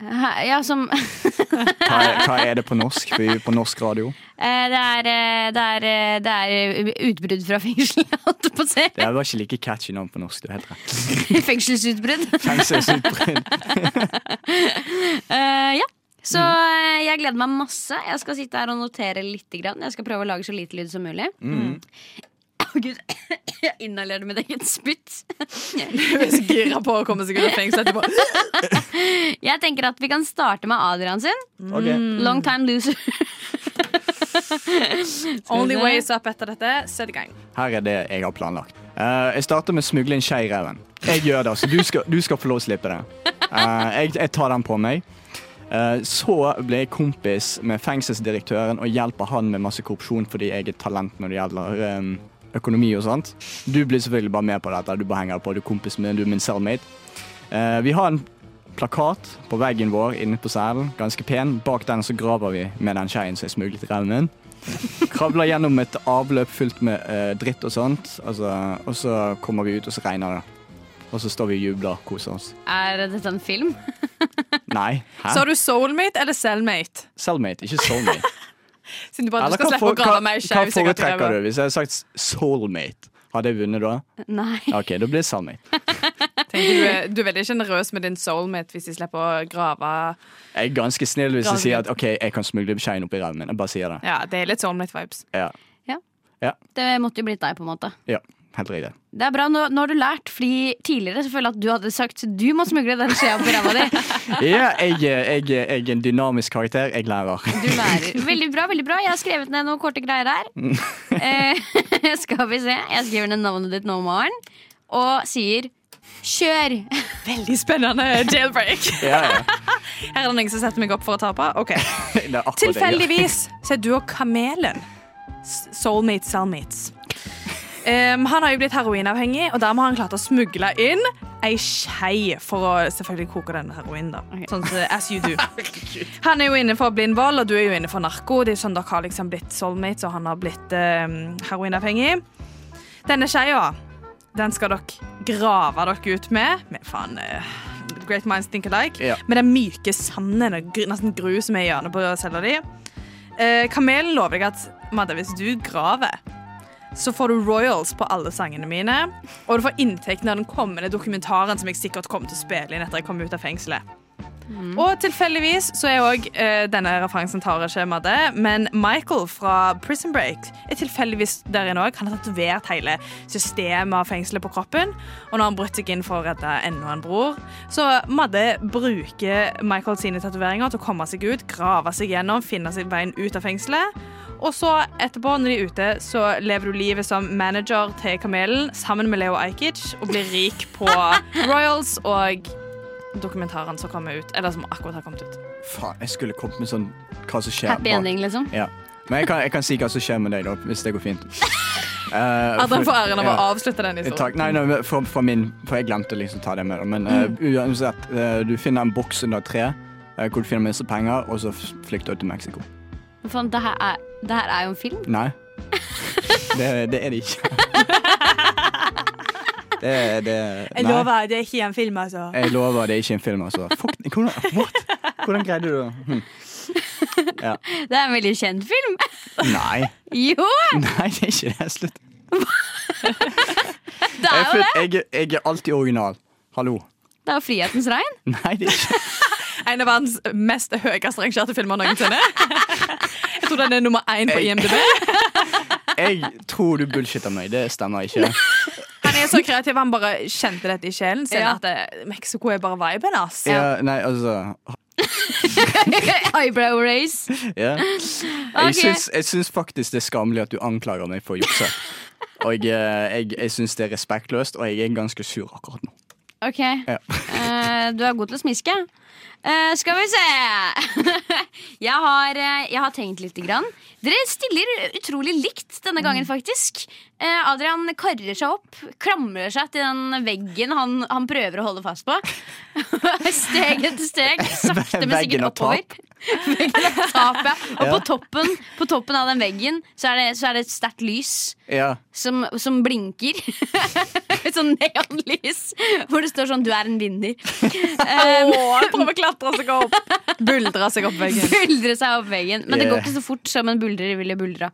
Speaker 4: Hæ- Ja, som
Speaker 2: Hva er, hva er det på norsk? Vi er på norsk radio.
Speaker 4: Eh, Det er, eh, det er, eh, det er eh, utbrudd fra fengsel, holdt jeg på å si.
Speaker 2: Det var ikke like catchy navn på norsk. Du er helt rett.
Speaker 4: Fengselsutbrudd.
Speaker 2: Fengselsutbrudd.
Speaker 4: Eh, ja. Så eh, jeg gleder meg masse. Jeg skal sitte her og notere litt. Grann. Jeg skal prøve å lage så lite lyd som mulig. Å, Gud, jeg inhalerer med eget spytt.
Speaker 5: Hun er så gira på å komme seg ut av fengsel etterpå.
Speaker 4: Jeg tenker at vi kan starte med Adrian sin.
Speaker 2: Ok.
Speaker 4: Long time loser.
Speaker 5: Only way is up etter dette. Sett i gang.
Speaker 2: Her er det jeg har planlagt. Eh, jeg starter med å smugle inn skje i reven. Jeg gjør det, altså. Du skal, du skal få lov å slippe det. Eh, jeg, jeg tar den på meg. Eh, så ble jeg kompis med fengselsdirektøren og hjelper han med masse korrupsjon fordi jeg er talent når det gjelder eh, økonomi og sånt. Du blir selvfølgelig bare med på dette. Du bare henger på. Du er kompis med du er min cellmate. Eh, vi har en plakat på veggen vår inne på cellen. Ganske pen. Bak den så graver vi med den skeien som jeg smuglet i reven min. Kravler gjennom et avløp fylt med eh, dritt og sånt. Altså, og så kommer vi ut, og så regner det. Og så står vi og jubler og koser oss.
Speaker 4: Er dette en film?
Speaker 2: Nei. Hæ?
Speaker 5: Så har du soulmate eller cellmate?
Speaker 2: Soulmate, ikke soulmate.
Speaker 5: Siden du bare
Speaker 2: Eller
Speaker 5: du skal
Speaker 2: hva,
Speaker 5: slippe
Speaker 2: for,
Speaker 5: å grave
Speaker 2: hva,
Speaker 5: meg i
Speaker 2: hva
Speaker 5: skjev.
Speaker 2: foretrekker du? Hvis jeg hadde sagt soulmate, hadde jeg vunnet da?
Speaker 4: Nei.
Speaker 2: Ja, OK, da blir det soulmate.
Speaker 5: Du er, du er veldig sjenerøs med din soulmate hvis de slipper å grave
Speaker 2: Jeg er ganske snill hvis jeg
Speaker 5: Ganske.
Speaker 2: sier at OK, jeg kan smugle skeien opp i ræven min. Jeg bare sier det.
Speaker 5: Ja, det er litt soulmate-vibes.
Speaker 2: Ja.
Speaker 4: Det måtte jo blitt deg, på en måte.
Speaker 2: ja helt riktig.
Speaker 4: Det er bra, nå, nå har du lært, fordi tidligere så føler jeg at du hadde sagt du må smugle den skjea på ræva di.
Speaker 2: Ja, jeg, eh, jeg, jeg er en dynamisk karakter. Jeg lærer.
Speaker 4: Du lærer. Veldig bra, veldig bra. Jeg har skrevet ned noen korte greier her. Eh, skal vi se. Jeg skriver ned navnet ditt nå om morgenen og sier kjør.
Speaker 5: Veldig spennende jailbreak.
Speaker 2: Ja, ja.
Speaker 5: Her er det noen som setter meg opp for å tape. Ok.
Speaker 2: Det er akkurat det jeg gjør.
Speaker 5: Tilfeldigvis så er du og kamelen s- soulmates, cellmates. Um, han har jo blitt heroinavhengig, og dermed har han klart å smugle inn ei skje for å selvfølgelig koke den heroinen. da. Sånn som as you do. Han er jo inne for blind vold, og du er jo inne for narko. Det er sånn Dere har liksom blitt soulmates, og han har blitt um, heroinavhengig. Denne skeia, den skal dere grave dere ut med. Med faen eh, Great minds think alike.
Speaker 2: Ja.
Speaker 5: Med den myke sanden og gru, nesten gru som er i hjørnet på cella di. Eh, kamelen lover deg at Madde, hvis du graver, så får du royals på alle sangene mine. Og du får inntekten av den kommende dokumentaren som jeg sikkert kommer til å spille inn etter jeg kommer ut av fengselet. Og tilfeldigvis så er òg Denne referansen tar ikke Madde, men Michael fra Prison Break er tilfeldigvis der inne òg. Han har tatovert hele systemet av fengselet på kroppen. Og nå har han brutt seg inn for å redde enda en bror. Så Madde bruker Michael sine tatoveringer til å komme seg ut, grave seg gjennom, finne seg veien ut av fengselet. Og så etterpå, når de er ute, så lever du livet som manager til Kamelen sammen med Leo Ajkic og blir rik på Royals og dokumentaren som kommer ut. Eller som akkurat har kommet ut.
Speaker 2: Faen, jeg skulle kommet med sånn hva som skjer
Speaker 4: Happy
Speaker 2: bak-
Speaker 4: ending, liksom.
Speaker 2: Ja. Men jeg kan, jeg kan si hva som skjer med deg, da, hvis det går fint. Uh,
Speaker 5: Adam får æren av å
Speaker 2: ja.
Speaker 5: avslutte den
Speaker 2: Takk.
Speaker 5: historien.
Speaker 2: Nei, nei, men for, for, min, for jeg glemte liksom å ta det med. da. Men eh,
Speaker 4: Mm.
Speaker 2: uansett, eh, du finner en boks under et tre eh, hvor du finner masse penger, og så f- flykter du til Mexico.
Speaker 4: Men faen, det her, er, det her er jo en film.
Speaker 2: Nei. Det, det er det ikke. Det, det nei. Eh.
Speaker 5: det er ikke en film, altså.
Speaker 2: Jeg lover, det er ikke en film, altså. Fuck, hvordan, what? hvordan greide du det? Hm.
Speaker 4: Det er en veldig kjent film.
Speaker 2: Nei.
Speaker 4: Jo,
Speaker 2: Nei, det er ikke det. Slutt.
Speaker 4: det
Speaker 2: Jeg,
Speaker 4: er jo det.
Speaker 2: føler- jeg, jeg er alltid original. Hallo.
Speaker 4: Det er jo Frihetens regn.
Speaker 2: Nei, det er ikke
Speaker 5: En av verdens mest høyest rangerte filmer noensinne. Jeg tror den er nummer én på IMDb.
Speaker 2: Jeg tror du bullshitter meg. Det stemmer ikke.
Speaker 5: Han er så kreativ, han bare kjente dette i sjelen sin.
Speaker 4: Ja.
Speaker 5: At eh, Mexico er bare viben, ass.
Speaker 2: Ja, nei, altså
Speaker 4: Eyebrow race.
Speaker 2: ja.
Speaker 4: Ok.
Speaker 2: jeg, syns, jeg syns faktisk det er skammelig at du anklager meg for å jukse. Og eh, jeg, jeg syns det er respektløst, og jeg er ganske sur akkurat nå.
Speaker 4: Ok,
Speaker 2: Ja.
Speaker 4: eh, du er god til å smiske. Eh, skal vi se jeg, har, eh, jeg har tenkt litt. Grann. Dere stiller utrolig likt denne gangen, faktisk. Eh, Adrian karrer seg opp, klamrer seg til den veggen han, han prøver å holde fast på. steg etter steg, sakte, men
Speaker 2: Veggen
Speaker 4: sikkert
Speaker 2: og tap.
Speaker 4: oppover. Veggen og tap, ja. Og
Speaker 2: Ja.
Speaker 4: på, toppen, på toppen av den veggen så er det, så er det et sterkt lys
Speaker 2: Ja,
Speaker 4: som, som blinker. Et sånn neonlys hvor det står sånn 'du er en vinner'. Um,
Speaker 5: Å, prøver å klatre seg opp. Buldre Eh, seg opp veggen.
Speaker 4: buldre seg opp veggen. Men det går
Speaker 2: Yeah.
Speaker 4: ikke så fort som en buldrer ville buldra.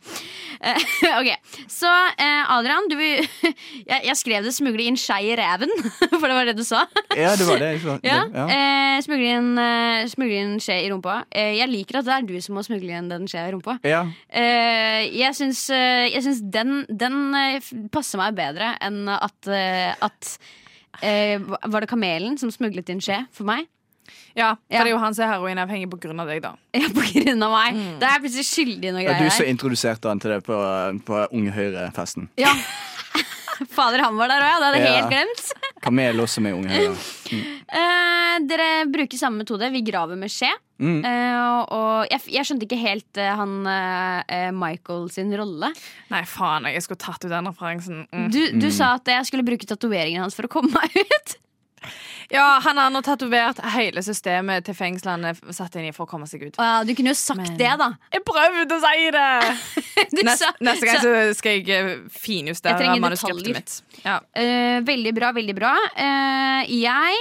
Speaker 4: Eh, ok, Så eh, Adrian, du vil jeg, jeg skrev det 'smugle inn skei i reven', for det var det du sa.
Speaker 2: ja det var det. jeg sa.
Speaker 4: Ja,
Speaker 2: Ja.
Speaker 4: eh, Smugle inn, eh, smugle inn skje i rumpa. Eh, jeg liker at det er du som må smugle inn den skjea i rumpa.
Speaker 2: ja.
Speaker 4: Eh, jeg syns, eh, jeg syns den, den eh, f- passer meg bedre enn at, eh, at eh, hva- Var det kamelen som smuglet inn skje for meg?
Speaker 5: Ja, for
Speaker 4: Ja.
Speaker 5: det er jo han som er heroinavhengig på grunn av deg, da.
Speaker 4: Ja, på grunn av meg. Da er jeg plutselig skyldig i noe
Speaker 2: Det er
Speaker 4: greier
Speaker 2: du som
Speaker 4: her.
Speaker 2: introduserte han til det på, på Unge Høyre-festen.
Speaker 4: Ja. Fader, han var der òg, ja. Det hadde jeg
Speaker 2: Ja.
Speaker 4: helt glemt.
Speaker 2: Kamel også med Unge Høyre.
Speaker 4: Eh, dere bruker samme metode. Vi graver med skje.
Speaker 2: Mm.
Speaker 4: Eh, og jeg, f- jeg skjønte ikke helt eh, han eh, Michael sin rolle.
Speaker 5: Nei, faen, jeg skulle tatt ut den referansen. Mm.
Speaker 4: Du, du sa at jeg skulle bruke tatoveringen hans for å komme meg ut.
Speaker 5: Ja, han har nå tatovert hele systemet til fengslene f- satt inn i for å komme seg ut.
Speaker 4: Å ja, du kunne jo sagt det, da.
Speaker 5: Jeg prøvde å si det!
Speaker 4: Du
Speaker 5: Neste,
Speaker 4: sa-
Speaker 5: neste gang
Speaker 4: sa-
Speaker 5: så skal jeg eh,
Speaker 4: Jeg
Speaker 5: finjustere
Speaker 4: trenger
Speaker 5: manuskriptet
Speaker 4: detaljer.
Speaker 5: mitt. Ja.
Speaker 4: Eh, veldig bra, veldig bra. Eh, jeg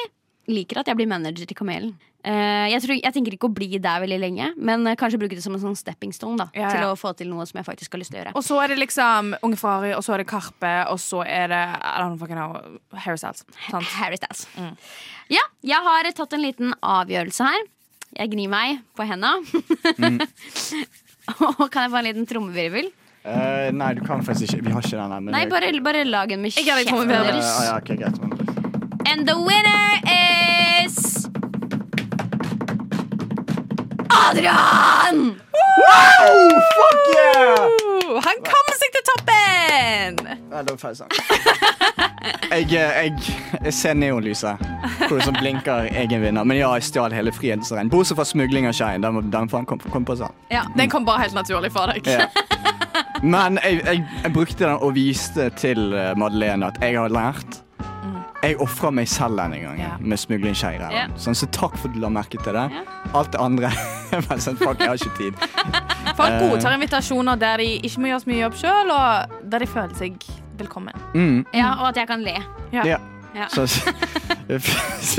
Speaker 4: liker at jeg blir manager til Kamelen. Eh, jeg, tror, jeg tenker ikke å bli der veldig lenge, men eh, kanskje bruke det som en sånn stepping stone da,
Speaker 5: Ja,
Speaker 4: til
Speaker 5: ja.
Speaker 4: å få til noe som jeg faktisk har lyst til å gjøre.
Speaker 5: Og så er det liksom Unge Ferrari, og så er det Karpe, og så er det I don't fucking know, Harry Styles. Sant?
Speaker 4: Harry Styles. Mm. Ja, jeg har tatt en liten avgjørelse her. Jeg gnir meg på henda.
Speaker 2: Mm.
Speaker 4: Og kan jeg få en liten trommevirvel?
Speaker 2: Eh, nei, du kan faktisk ikke. Vi har ikke den her. men
Speaker 4: Nei,
Speaker 2: jeg-
Speaker 4: bare, bare lag en med
Speaker 5: Jeg kan ikke
Speaker 4: kjeften
Speaker 5: trommevirvel.
Speaker 2: Eh,
Speaker 4: deres.
Speaker 2: ja, ok, greit.
Speaker 4: And the winner is Adrian!
Speaker 2: Oh, fuck yeah!
Speaker 5: Uh, han kommer seg til toppen!
Speaker 2: Nei, det var feil sang. Jeg, eh, jeg, jeg ser neonlyset. Hvor det som blinker egen vinner. Men ja, jeg stjal hele frihetsregn. Bortsett fra smugling av Shine. Den, den faen kom, kom på seg.
Speaker 4: Ja,
Speaker 5: Den kom bare helt naturlig for deg.
Speaker 2: Ja. Men jeg, jeg, jeg brukte den og viste til eh, Madeleine at jeg har lært. Jeg ofra meg selv denne gangen
Speaker 5: Ja.
Speaker 2: med smugling skje i ræven.
Speaker 4: Ja.
Speaker 2: Sånn, så takk for at du la merke til det.
Speaker 4: Ja.
Speaker 2: Alt det andre Bare sånn, Fuck, jeg har ikke tid.
Speaker 5: Folk godtar invitasjoner der de ikke må gjøre så mye jobb sjøl, og der de føler seg velkommen.
Speaker 2: Mm,
Speaker 4: ja, og at jeg kan le.
Speaker 2: ja.
Speaker 4: Ja.
Speaker 2: Så,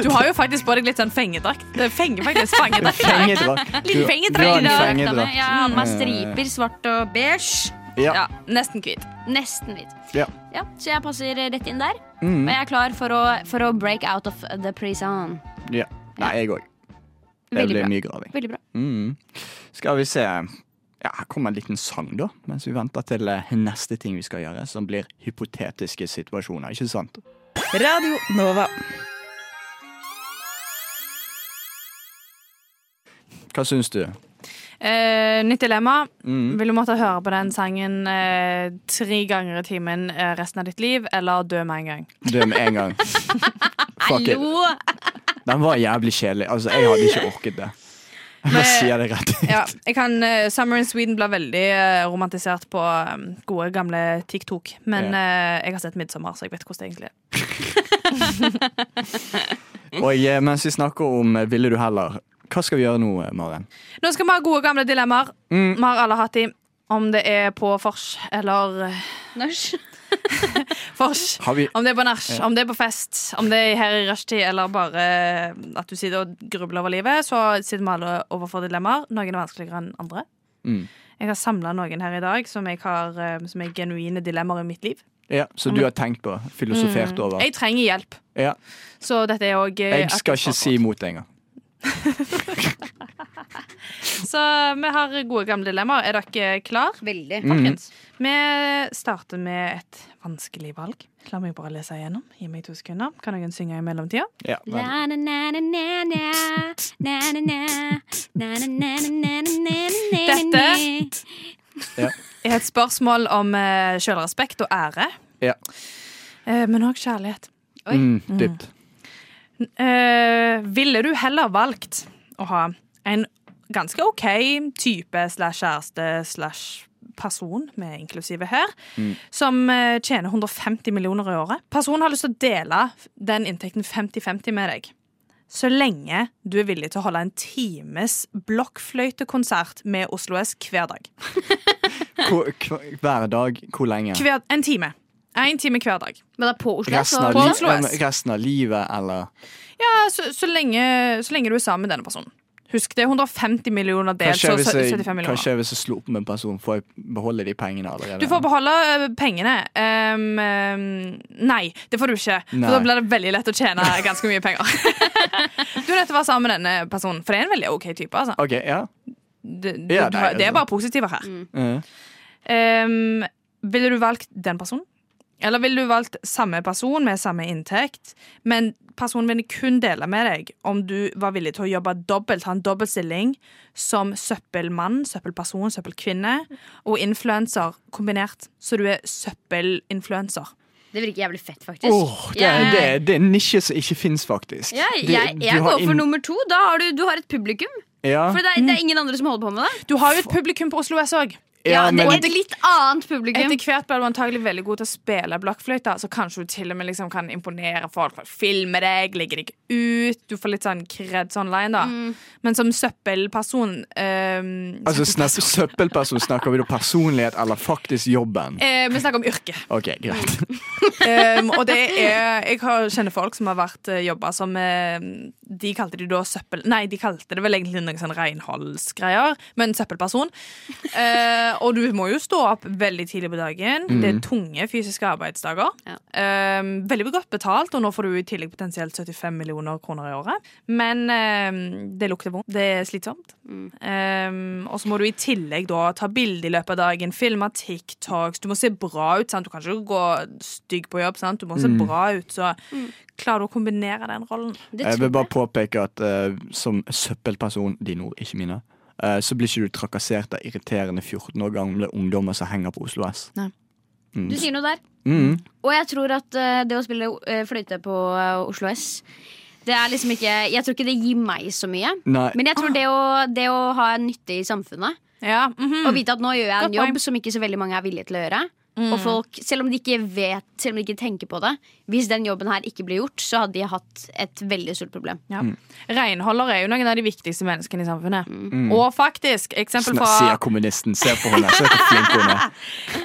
Speaker 5: Du har jo faktisk på deg litt sånn fengedrakt. Det er Fenge, faktisk. Fangedrakt.
Speaker 2: Fengedrakt.
Speaker 5: Lille
Speaker 2: Du-
Speaker 5: fengedrakt.
Speaker 2: du har en
Speaker 5: Lille
Speaker 2: fengedrakt.
Speaker 4: Jeg hadde
Speaker 2: Mm.
Speaker 4: meg striper, svart og beige.
Speaker 2: Ja.
Speaker 5: Ja, nesten hvit.
Speaker 4: Nesten hvit.
Speaker 2: Ja.
Speaker 4: Ja, så jeg passer rett inn der.
Speaker 2: Mm.
Speaker 4: Og jeg er klar for å, for å break out of the prison.
Speaker 2: ja. Nei, jeg òg. Det
Speaker 4: Veldig
Speaker 2: blir
Speaker 4: bra.
Speaker 2: mye graving.
Speaker 4: Veldig bra.
Speaker 2: Mm. Skal vi se Ja, her kommer en liten sang, da, mens vi venter til eh, neste ting vi skal gjøre, som blir hypotetiske situasjoner, ikke sant?
Speaker 8: Radio Nova.
Speaker 2: Hva syns du?
Speaker 5: Eh, nytt dilemma.
Speaker 2: Mm.
Speaker 5: Vil du måtte høre på den sangen eh, tre ganger i timen eh, resten av ditt liv, eller dø med en gang?
Speaker 2: Du med en gang. Fuck it.
Speaker 4: Hallo!
Speaker 2: Den var jævlig kjedelig. Altså, jeg hadde ikke orket det. Jeg bare
Speaker 5: Men-
Speaker 2: sier det rett ut.
Speaker 5: Ja, jeg kan, eh, Summer in Sweden ble veldig eh, romantisert på eh, gode, gamle TikTok. Men eh, jeg har sett Midtsommer, så jeg vet hvordan det egentlig er.
Speaker 2: Og eh, mens vi snakker om eh, Ville du heller, hva skal vi gjøre nå, eh, Maren?
Speaker 5: Nå skal vi ha gode, gamle dilemmaer.
Speaker 2: Mm.
Speaker 5: Vi har alle hatt de. Om det er på vors eller eh,
Speaker 4: Norsk.
Speaker 5: vors.
Speaker 2: Har vi
Speaker 5: Om det er på nach, om det er på fest, om det er her i rushtid, eller bare eh, at du sitter og grubler over livet, så sitter vi alle overfor dilemmaer. Noen er vanskeligere enn andre.
Speaker 2: Mm.
Speaker 5: Jeg har samla noen her i dag som, jeg har, eh, som er genuine dilemmaer i mitt liv.
Speaker 2: Ja, så du har tenkt på, filosofert over.
Speaker 5: Jeg trenger hjelp.
Speaker 2: Ja.
Speaker 5: Så dette er eh, òg
Speaker 2: Jeg skal ikke si imot det engang.
Speaker 5: Så vi har gode, gamle dilemmaer. Er dere klar?
Speaker 4: Veldig.
Speaker 2: Mm.
Speaker 5: Folkens? Vi starter med et vanskelig valg. La meg bare lese igjennom. Gi meg to sekunder. Kan noen synge i mellomtida?
Speaker 2: Ja, vel.
Speaker 4: Na-na-na-na-na-na. Na-na-na. Na-na-na-na-na-na-na-na.
Speaker 5: Dette-
Speaker 2: Ja.
Speaker 5: er et spørsmål om eh, selvrespekt og ære,
Speaker 2: Ja.
Speaker 5: eh, men òg kjærlighet.
Speaker 4: Oi.
Speaker 2: Mm, dypt.
Speaker 5: Eh, ville du heller valgt å ha en ganske OK type slash kjæreste slash person, med inklusive her,
Speaker 2: Mm.
Speaker 5: som eh, tjener 150 millioner i året? Personen har lyst til å dele den inntekten 50-50 med deg. Så lenge du er villig til å holde en times blokkfløytekonsert med Oslo S hver dag.
Speaker 2: Hvor- hver- Hver dag, hvor lenge?
Speaker 5: Hver, en time. En time hver dag.
Speaker 4: Men da på Oslo,
Speaker 2: Resten av,
Speaker 5: på
Speaker 2: li
Speaker 5: Oslo S.
Speaker 2: eh, resten av livet, eller
Speaker 5: Ja, så, så, lenge, så lenge du er sammen med denne personen. Husk det er 150 millioner
Speaker 2: Hva
Speaker 5: delt, så
Speaker 2: skjer hvis jeg,
Speaker 5: 75
Speaker 2: hva
Speaker 5: millioner.
Speaker 2: skjer hvis jeg slår opp med en person? Får jeg beholde de pengene allerede?
Speaker 5: Du får beholde ø, pengene. Ehm, ehm, nei, det får du ikke.
Speaker 2: Nei.
Speaker 5: For da blir det veldig lett å tjene ganske mye penger. du er nødt til å være sammen med denne personen, for det er en veldig OK type. Altså.
Speaker 2: OK, ja.
Speaker 5: Du, du,
Speaker 2: Ja,
Speaker 5: du,
Speaker 2: nei, altså.
Speaker 5: har- det er sånn. bare positiver her.
Speaker 2: Eh,
Speaker 5: Ehm, ville du valgt den personen? Eller ville du valgt samme person med samme inntekt, men personen ville kun dele med deg om du var villig til å jobbe dobbelt, ha en dobbeltstilling som søppelmann, søppelperson, søppelkvinne og influenser kombinert, så du er søppelinfluenser?
Speaker 4: Det virker jævlig fett, faktisk.
Speaker 2: Åh, det, er-
Speaker 4: Jeg-
Speaker 2: det, er- det er en nisje som ikke fins, faktisk.
Speaker 4: Ja,
Speaker 2: Det-
Speaker 4: jeg
Speaker 2: du
Speaker 4: jeg
Speaker 2: har
Speaker 4: går for
Speaker 2: inn-
Speaker 4: nummer to. Da har du, du har et publikum.
Speaker 2: ja.
Speaker 4: For det er, det er ingen andre som holder på med det.
Speaker 5: Du har jo et publikum på Oslo S òg.
Speaker 2: Ja,
Speaker 4: det
Speaker 2: men
Speaker 4: er et litt annet publikum.
Speaker 5: Etter hvert blir du antagelig veldig god til å spille blokkfløyte, så kanskje du til og med liksom kan imponere folk. folk Filme deg, legge deg ut. Du får litt sånn kreds online, da. Men som søppelperson ehm,
Speaker 2: altså, snap, Søppelperson, snakker vi da personlighet eller faktisk jobben?
Speaker 5: eh, Vi snakker om yrke.
Speaker 2: OK, greit.
Speaker 5: Ehm, og det er Jeg har, kjenner folk som har vært eh, jobba som eh, De kalte det da søppel... Nei, de kalte det vel egentlig noen sånn renholdsgreier, men søppelperson. Eh, og du må jo stå opp veldig tidlig på dagen. Det er tunge fysiske arbeidsdager.
Speaker 4: Ja.
Speaker 5: Ehm, veldig godt betalt, og nå får du i tillegg potensielt 75 millioner kroner i året. Men ehm, det lukter vondt. Det er slitsomt. Ehm, og så må du i tillegg da ta bilde i løpet av dagen, filme TikToks. Du må se bra ut. sant? Du kan ikke gå stygg på jobb. sant? Du må se bra ut. Så klarer du å kombinere den rollen.
Speaker 4: Det
Speaker 2: Jeg
Speaker 4: tror
Speaker 2: vil bare påpeke at eh, som søppelperson, dine ord, ikke mine, eh, så blir ikke du trakassert av irriterende 14 år gamle ungdommer som henger på Oslo S.
Speaker 4: jeg. Du sier noe der.
Speaker 2: Mm.
Speaker 4: Og jeg tror at eh, det å spille eh, fløyte på eh, Oslo S det er liksom ikke, Jeg tror ikke det gir meg så mye.
Speaker 2: Nei.
Speaker 4: Men jeg tror det å, det å ha en nytte i samfunnet,
Speaker 5: Ja, mhm.
Speaker 4: og vite at nå gjør jeg en
Speaker 5: Godt poeng.
Speaker 4: jobb som ikke så veldig mange er villige til å gjøre Og folk, selv om de ikke vet, selv om de ikke tenker på det Hvis den jobben her ikke ble gjort, så hadde de hatt et veldig stort problem.
Speaker 5: ja.
Speaker 2: Mm.
Speaker 5: Renholder er jo noen av de viktigste menneskene i samfunnet.
Speaker 2: Mm.
Speaker 5: Og faktisk, eksempel
Speaker 2: Sna-
Speaker 5: fra
Speaker 2: Sier kommunisten. Se på henne. Se hvor flink hun er.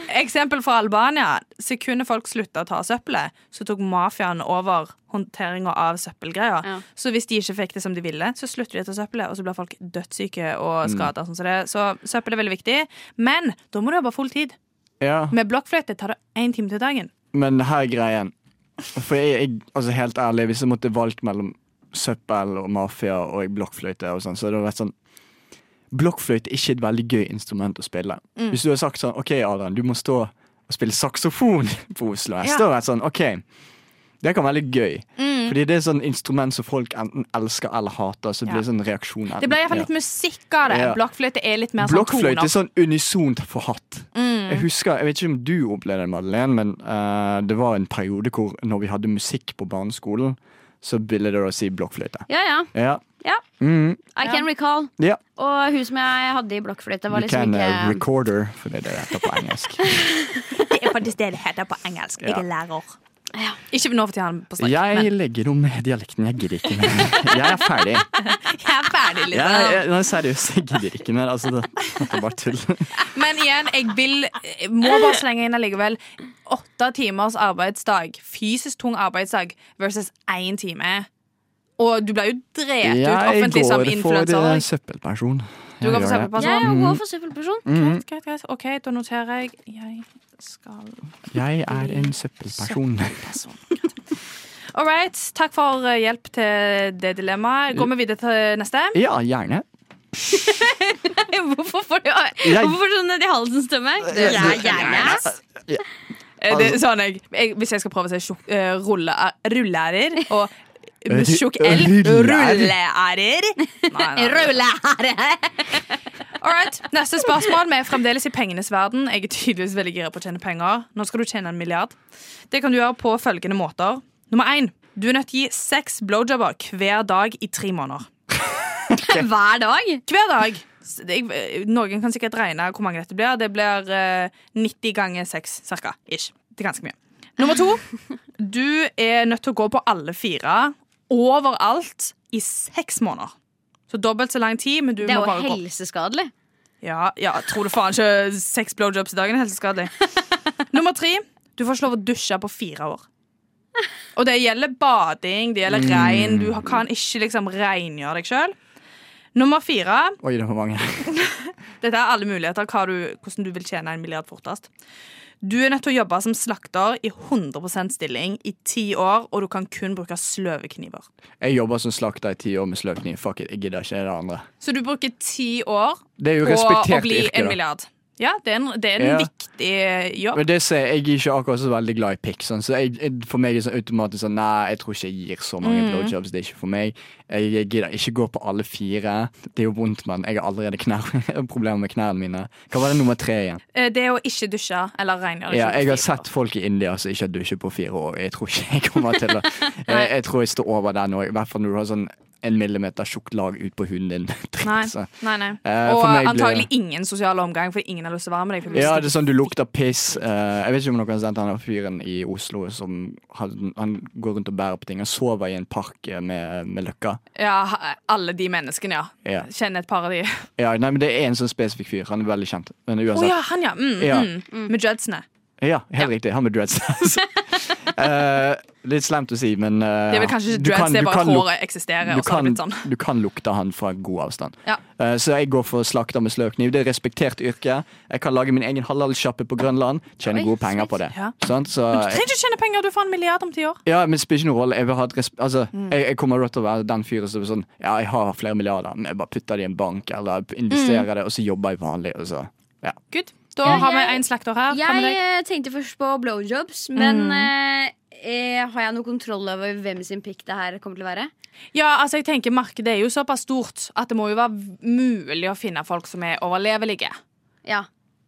Speaker 5: Eksempel fra Albania. Sekundet folk slutta å ta søppelet, så tok mafiaen over håndteringa av søppelgreier.
Speaker 4: Ja.
Speaker 5: Så hvis de ikke fikk det som de ville, så slutter de å ta søppelet, og så blir folk dødssyke
Speaker 2: Mm.
Speaker 5: og skada. Sånn som det. Så søppel er veldig viktig. Men da må du jobbe full tid.
Speaker 2: Ja.
Speaker 5: Med blokkfløyte tar det én time til dagen.
Speaker 2: Men her er greien. For jeg, jeg, altså helt ærlig, hvis jeg måtte valgt mellom søppel og mafia og blokkfløyte og sånn, så det har vært sånn Blokkfløyte er ikke et veldig gøy instrument å spille.
Speaker 5: Mm.
Speaker 2: Hvis du har sagt sånn OK, Adrian, du må stå og spille saksofon på Oslo S,
Speaker 5: Ja.
Speaker 2: da
Speaker 5: Mm.
Speaker 2: har det vært sånn OK. Det kan være litt gøy, Fordi det er sånn instrument som folk enten elsker eller hater. Så det blir sånn reaksjon enten-
Speaker 5: Det ble iallfall
Speaker 2: Ja.
Speaker 5: litt musikk av det.
Speaker 2: Ja.
Speaker 5: Blokkfløyte er litt mer sånn Mm.
Speaker 2: Blokkfløyte er
Speaker 5: toner.
Speaker 2: sånn unisont forhatt. Jeg husker, jeg vet ikke om du opplevde det, Madeleine, men eh, det var en periode hvor når vi hadde musikk på barneskolen, så ville det da si blokkfløyte.
Speaker 4: Ja, ja.
Speaker 2: Ja.
Speaker 4: ja.
Speaker 2: Mm,
Speaker 4: I can recall.
Speaker 2: ja.
Speaker 4: Og hun som jeg hadde i blokkfløyte, var
Speaker 2: You can
Speaker 4: liksom
Speaker 2: eh,
Speaker 4: ikke
Speaker 2: recorder, for det er det det heter på engelsk.
Speaker 5: Det er faktisk det det heter på engelsk. Jeg
Speaker 2: Ja.
Speaker 5: er lærer. Ikke nå for tiden på snakk,
Speaker 2: Jeg
Speaker 5: men
Speaker 2: legger om dialekten. Jeg gidder ikke mer. Jeg er ferdig.
Speaker 5: jeg er ferdig,
Speaker 2: Jeg,
Speaker 5: liksom.
Speaker 2: jeg, nei, seriøst, jeg gidder ikke mer. Altså, det, det er bare tull.
Speaker 5: Men igjen, jeg vil jeg må bare slenge inn allikevel. Åtte timers arbeidsdag, fysisk tung arbeidsdag, versus én time. Og du blir jo drept ut
Speaker 2: Jeg
Speaker 5: offentlig som
Speaker 2: går for
Speaker 5: influenser.
Speaker 2: eh,
Speaker 5: også.
Speaker 2: søppelperson.
Speaker 5: Du går
Speaker 2: Jeg gjør
Speaker 5: for
Speaker 2: det.
Speaker 5: eksempel på
Speaker 4: Jeg
Speaker 5: sånn
Speaker 4: er jo for søppelperson.
Speaker 5: Greit, greit, greit. OK, da noterer jeg. Jeg skal
Speaker 2: Jeg er en søppelperson.
Speaker 5: All right. Takk for eh, hjelp til det dilemmaet. Går vi videre til neste?
Speaker 2: Ja, gjerne.
Speaker 4: Hvorfor får du Hvorfor får du sånn nedi halsen stemme? Ja, gjerne.
Speaker 5: Eh, Det, sånn jeg, jeg, hvis jeg skal prøve å si tjukk- eh, rulle, rulleærer og
Speaker 2: Ru-
Speaker 5: tjukk L
Speaker 2: rulleærer.
Speaker 5: Rulleærer. Nei, nei. All right. Neste spørsmål. Vi er fremdeles i pengenes verden. Jeg er tydeligvis veldig gira på å tjene penger. Nå skal du tjene en milliard. Det kan du gjøre på følgende måter. Nummer én. Du er nødt til å gi seks blowjobber hver dag i tre måneder.
Speaker 4: Hver dag.
Speaker 5: Hver dag! S- det- jeg- Noen kan sikkert regne hvor mange dette blir. Det blir eh, 90 ganger 6, cirka. Ish. Det er ganske mye. Nummer to. Du er nødt til å gå på alle fire overalt i seks måneder. Så dobbelt så lang tid, men du
Speaker 4: Det er
Speaker 5: må
Speaker 4: jo
Speaker 5: bare gå.
Speaker 4: helseskadelig.
Speaker 5: Ja, ja, tror du faen ikke seks blowjobs i dagen er helseskadelig. Nummer tre. Du får ikke lov å dusje på fire år. Og det gjelder bading, det gjelder regn. Du har- kan ikke liksom rengjøre deg sjøl. Nummer fire.
Speaker 2: Oi, det var mange.
Speaker 5: Dette er alle muligheter hva du, hvordan du vil tjene en milliard fortest. Du er nødt til å jobbe som slakter i 100 stilling i ti år, og du kan kun bruke sløve kniver.
Speaker 2: Jeg jobber som slakter i ti år med sløvkniv. Fuck it, jeg gidder ikke det andre.
Speaker 5: Så du bruker ti år
Speaker 2: Det er jo
Speaker 5: på å
Speaker 2: respektert
Speaker 5: bli
Speaker 2: yrke,
Speaker 5: en
Speaker 2: da.
Speaker 5: milliard. Ja, det er en, det er
Speaker 2: Ja.
Speaker 5: en viktig jobb.
Speaker 2: Men det ser jeg er ikke akkurat så veldig glad i pikk. Sånn. Så jeg, jeg, for meg er det sånn automatisk sånn Nei, jeg tror ikke jeg gir så
Speaker 5: Mm.
Speaker 2: mange blowjobs. Det er ikke for meg. Jeg, jeg gidder ikke gå på alle fire. Det er jo vondt, men jeg har allerede knær, problemer med knærne mine. Hva var det nummer tre igjen?
Speaker 5: Eh, Det er å ikke dusje eller rengjøre.
Speaker 2: Ja,
Speaker 5: ikke
Speaker 2: jeg har
Speaker 5: fire
Speaker 2: sett
Speaker 5: år.
Speaker 2: folk i India som ikke har dusjet på fire år. Jeg tror ikke jeg kommer til å jeg, jeg tror jeg står over der nå. I hvert fall når du har sånn en millimeter tjukt lag ut på huden din. Dritt,
Speaker 5: Nei,
Speaker 2: så.
Speaker 5: nei, nei.
Speaker 2: Eh,
Speaker 5: Og
Speaker 2: for meg blir-
Speaker 5: antagelig ingen sosial omgang, for ingen har lyst til å være med deg. for du
Speaker 2: Ja,
Speaker 5: stikker.
Speaker 2: det er sånn du lukter piss. Eh, jeg vet ikke om noen har sett han der fyren i Oslo som han, han går rundt og bærer på ting. Han sover i en park eh, med, med løkka.
Speaker 5: ja, ha- alle de menneskene, ja.
Speaker 2: Ja.
Speaker 5: Kjenner et par av de.
Speaker 2: Ja, nei, men Det er en sånn spesifikk fyr. Han er veldig kjent. Men
Speaker 5: Å
Speaker 2: uansett.
Speaker 5: ja, han, ja. Mm,
Speaker 2: Ja.
Speaker 5: Mm. Med judgesene.
Speaker 2: Ja, helt riktig. Han med dreads. Eh, litt slemt å si, men eh,
Speaker 5: Det er vel kanskje ikke
Speaker 2: du
Speaker 5: dreads,
Speaker 2: kan-
Speaker 5: det er
Speaker 2: du
Speaker 5: bare at
Speaker 2: kan luk-
Speaker 5: håret eksisterer.
Speaker 2: du
Speaker 5: og så har det
Speaker 2: kan,
Speaker 5: blitt sånn.
Speaker 2: du kan lukte han fra god avstand.
Speaker 5: Ja.
Speaker 2: Eh, så jeg går for slakter med sløvkniv. Det er respektert yrke. Jeg kan lage min egen halalsjappe på Grønland. Tjene
Speaker 4: Oi,
Speaker 2: gode penger på det.
Speaker 5: Ja.
Speaker 2: Sant? Så
Speaker 5: Du trenger ikke tjene penger, du får en milliard om ti år.
Speaker 2: Ja, men det spiller ikke noen rolle. Jeg, vil ha et resp altså,
Speaker 5: Mm.
Speaker 2: jeg, jeg kommer til å være den fyren som er sånn Ja, jeg har flere milliarder, men jeg bare putter det i en bank, eller investerer
Speaker 5: Mm.
Speaker 2: det, og så jobber jeg vanlig. Og så. Ja.
Speaker 5: Good. Da
Speaker 4: Ja,
Speaker 5: har vi
Speaker 4: jeg-
Speaker 5: en slakter her. Hva
Speaker 4: Jeg
Speaker 5: med deg?
Speaker 4: eh, tenkte først på blowjobs, men
Speaker 5: Mm.
Speaker 4: eh, eh, har jeg noe kontroll over hvem sin pikk det her kommer til å være?
Speaker 5: Ja, altså jeg tenker Markedet er jo såpass stort at det må jo være mulig å finne folk som er overlevelige.
Speaker 4: Ja,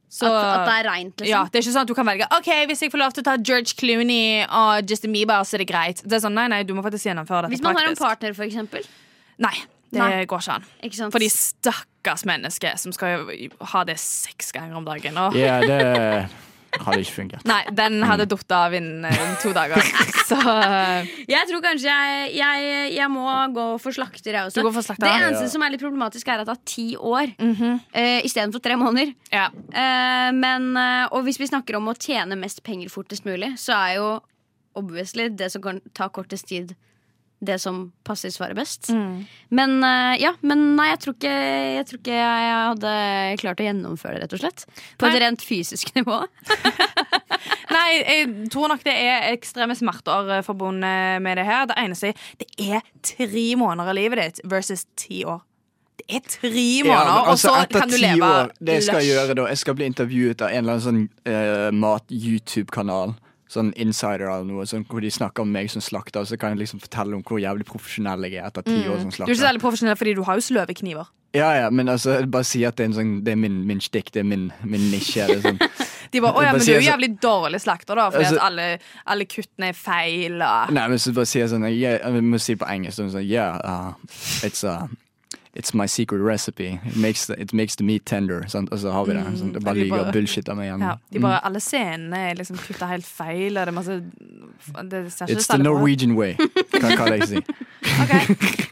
Speaker 5: Så,
Speaker 4: at, at det er reint, liksom.
Speaker 5: ja, det er ikke sånn at du kan velge Ok, hvis jeg får lov til å ta George Clooney og Justin Bieber, så er det greit. Det er sånn, Nei, nei, du må faktisk gjennomføre dette
Speaker 4: Hvis man har en
Speaker 5: praktisk.
Speaker 4: partner, for eksempel.
Speaker 5: Nei, det
Speaker 4: Nei.
Speaker 5: går ikke an.
Speaker 4: Ikke sant?
Speaker 5: For de stakkars mennesker som skal jo ha det seks ganger om dagen. Og
Speaker 2: ja, det hadde ikke fungert.
Speaker 5: Nei, den hadde datt av innen eh, to dager. Så eh,
Speaker 4: Jeg tror kanskje jeg, jeg, jeg må gå for slakter, jeg også.
Speaker 5: Du går for slakter,
Speaker 4: det
Speaker 5: ja. Mhm.
Speaker 4: eneste som er litt problematisk, er at det er ti år mm istedenfor tre måneder.
Speaker 5: ja.
Speaker 4: Eh, men, eh, og hvis vi snakker om å tjene mest penger fortest mulig, så er jo obviously det som kan ta kortest tid, det som passer svaret best. Men eh, ja, men nei, jeg tror, ikke, jeg tror ikke jeg hadde klart å gjennomføre det, rett og slett. På
Speaker 5: Nei.
Speaker 4: et rent fysisk nivå.
Speaker 5: Nei, jeg tror nok det er ekstreme smerter eh, forbundet med det her. Det eneste er det er tre måneder av livet ditt versus ti år. Det er tre måneder,
Speaker 2: men altså,
Speaker 5: og så
Speaker 2: etter
Speaker 5: kan du
Speaker 2: ti
Speaker 5: leve
Speaker 2: år, Det jeg skal
Speaker 5: lush.
Speaker 2: gjøre da, jeg skal bli intervjuet av en eller annen sånn eh, mat-YouTube-kanal. Sånn insider eller noe, sånn, hvor de snakker om meg som slakter. Og så kan jeg liksom fortelle om hvor jævlig profesjonell jeg er etter ti år som
Speaker 5: Mm. Du er ikke
Speaker 2: slakter.
Speaker 5: særlig profesjonell, fordi du har jo sløve kniver.
Speaker 2: Ja, ja, men altså, bare si at det er, en sånn, det er min, min stikk, det er min, min nisje. Det er sånn.
Speaker 5: De bare, 'Å ja,
Speaker 2: Jeg bare
Speaker 5: men du er
Speaker 2: sier
Speaker 5: jo
Speaker 2: så-
Speaker 5: jævlig dårlig slakter, da, fordi
Speaker 2: Altså-
Speaker 5: at alle, alle kuttene er feil. Og...
Speaker 2: Nei, men så bare sier jeg sånn yeah, Jeg må si det på engelsk sånn, sånn Yeah, uh, it's, uh, it's my secret recipe It makes the, it makes the meat tender sant? Og så har vi det sånn, Det
Speaker 5: og
Speaker 2: bare
Speaker 5: de
Speaker 2: lyger
Speaker 5: bare-
Speaker 2: og bullshit av meg igjen
Speaker 5: Ja, de
Speaker 2: Mm.
Speaker 5: bare, Alle scenene er liksom kutta helt feil, og det er masse Det ser
Speaker 2: Mm.
Speaker 5: ikke
Speaker 2: It's the
Speaker 5: særlig bra ut.
Speaker 2: Norwegian way Kan kan jeg si
Speaker 5: Ok.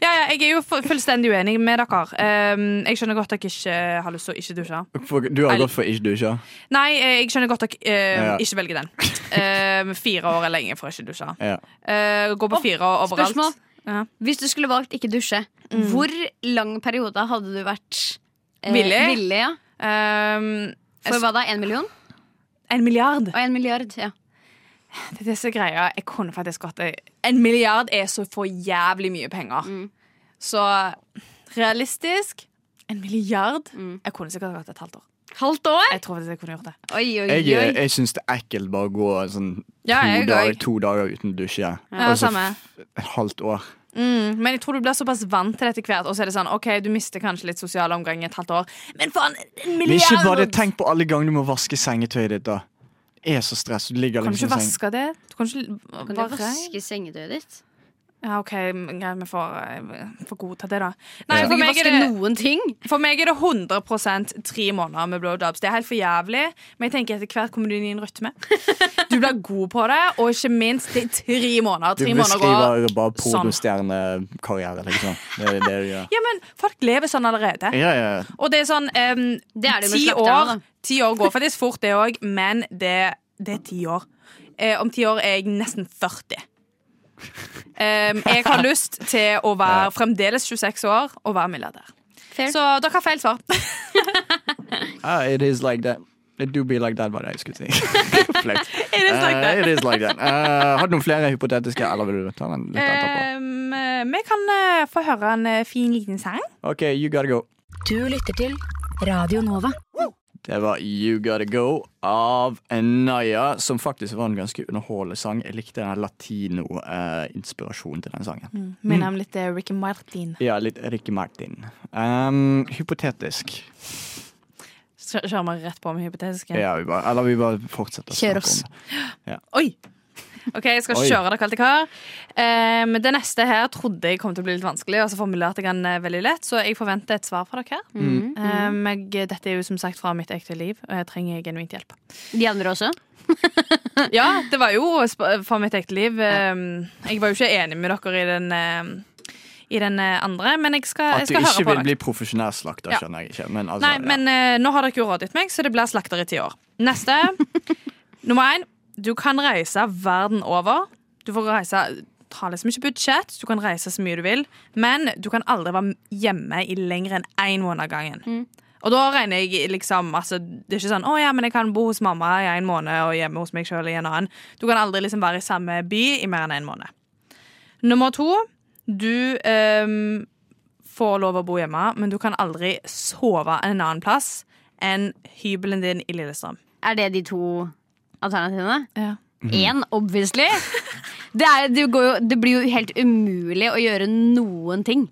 Speaker 5: Ja, ja, jeg er jo fu- fullstendig uenig med dere. Um, jeg skjønner godt dere ikke har lyst til å ikke dusje.
Speaker 2: for, Du har
Speaker 5: Eller-
Speaker 2: gått for ikke dusja
Speaker 5: Nei, eh, jeg skjønner godt dere eh,
Speaker 2: Ja.
Speaker 5: ikke velger den. Um, fire år er lenge for å ikke dusje.
Speaker 2: ja.
Speaker 5: Eh, gå på
Speaker 4: Å,
Speaker 5: fire år overalt.
Speaker 4: spørsmål.
Speaker 5: Ja.
Speaker 4: Hvis du skulle valgt ikke dusje, hvor lang periode hadde du vært eh,
Speaker 5: Villig?
Speaker 4: villig ja.
Speaker 5: Um,
Speaker 4: For hva da? En million?
Speaker 5: en milliard.
Speaker 4: Og en milliard? Ja.
Speaker 5: Det er disse greia Jeg kunne faktisk godt En milliard er så for jævlig mye penger.
Speaker 4: Mm.
Speaker 5: Så realistisk en milliard
Speaker 4: Mm.
Speaker 5: Jeg kunne sikkert hatt et halvt år.
Speaker 4: Halvt år?
Speaker 5: Jeg tror faktisk jeg kunne gjort det.
Speaker 4: Oi, oi,
Speaker 2: jeg,
Speaker 4: oi.
Speaker 2: jeg synes det er ekkelt bare å gå sånn to,
Speaker 5: Ja, jeg
Speaker 2: dager,
Speaker 5: òg.
Speaker 2: to dager uten dusje
Speaker 5: Ja,
Speaker 2: Og så
Speaker 5: samme.
Speaker 2: f- Et halvt år
Speaker 5: Mm, men jeg tror du blir såpass vant til dette hvert. Og så er det sånn, ok, du mister kanskje litt sosial omgang i et halvt år. Men faen, en
Speaker 2: Men
Speaker 5: milliard!
Speaker 2: ikke bare tenk på alle ganger du må vaske sengetøyet ditt da Det er så stress Du ligger
Speaker 5: Kan du
Speaker 2: liksom
Speaker 5: ikke
Speaker 2: i sengen.
Speaker 5: vaske det? Du kan
Speaker 4: Kan
Speaker 5: ikke
Speaker 4: du
Speaker 5: bare
Speaker 4: vaske sengetøyet ditt?
Speaker 5: Ja, OK, men greit, vi får, eh, får godta det, da. Nei,
Speaker 4: Kan
Speaker 5: for,
Speaker 4: du ikke
Speaker 5: meg er
Speaker 4: vaske
Speaker 5: det,
Speaker 4: noen ting?
Speaker 5: for meg er det 100 tre måneder med blowjobs. Det er helt for jævlig, men jeg tenker etter hvert kommer du inn i en rytme. Du blir god på det, og ikke minst, det er tre måneder.
Speaker 2: Du
Speaker 5: Tre måneder går. sånn.
Speaker 2: beskriver bare pornostjernekarriere liksom Det er det du gjør
Speaker 5: Ja, men folk lever sånn allerede.
Speaker 2: Ja, ja, ja.
Speaker 5: Og det er sånn um,
Speaker 4: Det er det med
Speaker 5: ti,
Speaker 4: slakterne,
Speaker 5: år,
Speaker 4: da.
Speaker 5: ti år går faktisk fort, det òg, men det, det er ti år. Eh, om ti år er jeg nesten 40. Um, jeg har lyst til å være fremdeles 26 år og være milliardær.
Speaker 4: Fair.
Speaker 5: Så dere har feil svar.
Speaker 2: Ah, it is like that. It do be like that, var det jeg skulle si. Flaut.
Speaker 5: It is like that.
Speaker 2: Eh, it is like that. Eh, har du noen flere hypotetiske, eller vil du ta den litt etterpå?
Speaker 5: Um, eh, vi kan eh, få høre en eh, fin liten sang.
Speaker 2: OK, You Gotta Go.
Speaker 6: Du lytter til Radio Nova.
Speaker 2: Det var You Gotta Go av Naya, som faktisk var en ganske underholdende sang. Jeg likte den latino-inspirasjonen til den sangen.
Speaker 5: Minner om litt eh, Ricky Martin.
Speaker 2: Ja, litt Ricky Martin. Ehm, hypotetisk.
Speaker 5: Så kjører vi rett på med hypotetiske.
Speaker 2: Ja, vi bare, eller vi bare fortsetter. å
Speaker 4: Kjør
Speaker 2: snakke
Speaker 4: oss.
Speaker 2: om det.
Speaker 5: Oi! Ok, Jeg skal
Speaker 2: Oi.
Speaker 5: kjøre dere alt jeg har. Um, det neste her trodde jeg kom til å bli litt vanskelig, og så formulerte jeg den eh, veldig lett, så jeg forventer et svar fra dere.
Speaker 2: Mm.
Speaker 5: Um, jeg, dette er jo som sagt fra mitt ekte liv, og jeg trenger genuint hjelp.
Speaker 4: De andre også?
Speaker 5: Ja, det var jo sp- fra mitt ekte liv. Um, jeg var jo ikke enig med dere i den, eh, i den eh, andre, men jeg skal,
Speaker 2: At du
Speaker 5: jeg skal høre
Speaker 2: ikke
Speaker 5: på
Speaker 2: vil
Speaker 5: dere.
Speaker 2: bli profesjonell slakter,
Speaker 5: Ja.
Speaker 2: skjønner jeg ikke. Men altså,
Speaker 5: Nei, men eh, nå har dere jo rådet meg, så det blir slakter i ti år. Neste. Nummer én. Du kan reise verden over. Du får reise Ta liksom ikke budsjett, du kan reise så mye du vil, men du kan aldri være hjemme i lenger enn én måned av gangen. Og da regner jeg liksom altså, Det er ikke sånn 'Å ja, men jeg kan bo hos mamma i en måned og hjemme hos meg sjøl i en annen'. Du kan aldri liksom være i samme by i mer enn én måned. Nummer to. Du ehm, får lov å bo hjemme, men du kan aldri sove en annen plass enn hybelen din i Lillestrøm.
Speaker 4: Er det de to alternativene?
Speaker 5: Ja.
Speaker 4: Én, obviously. Det, er, det, går jo, det blir jo helt umulig å gjøre noen ting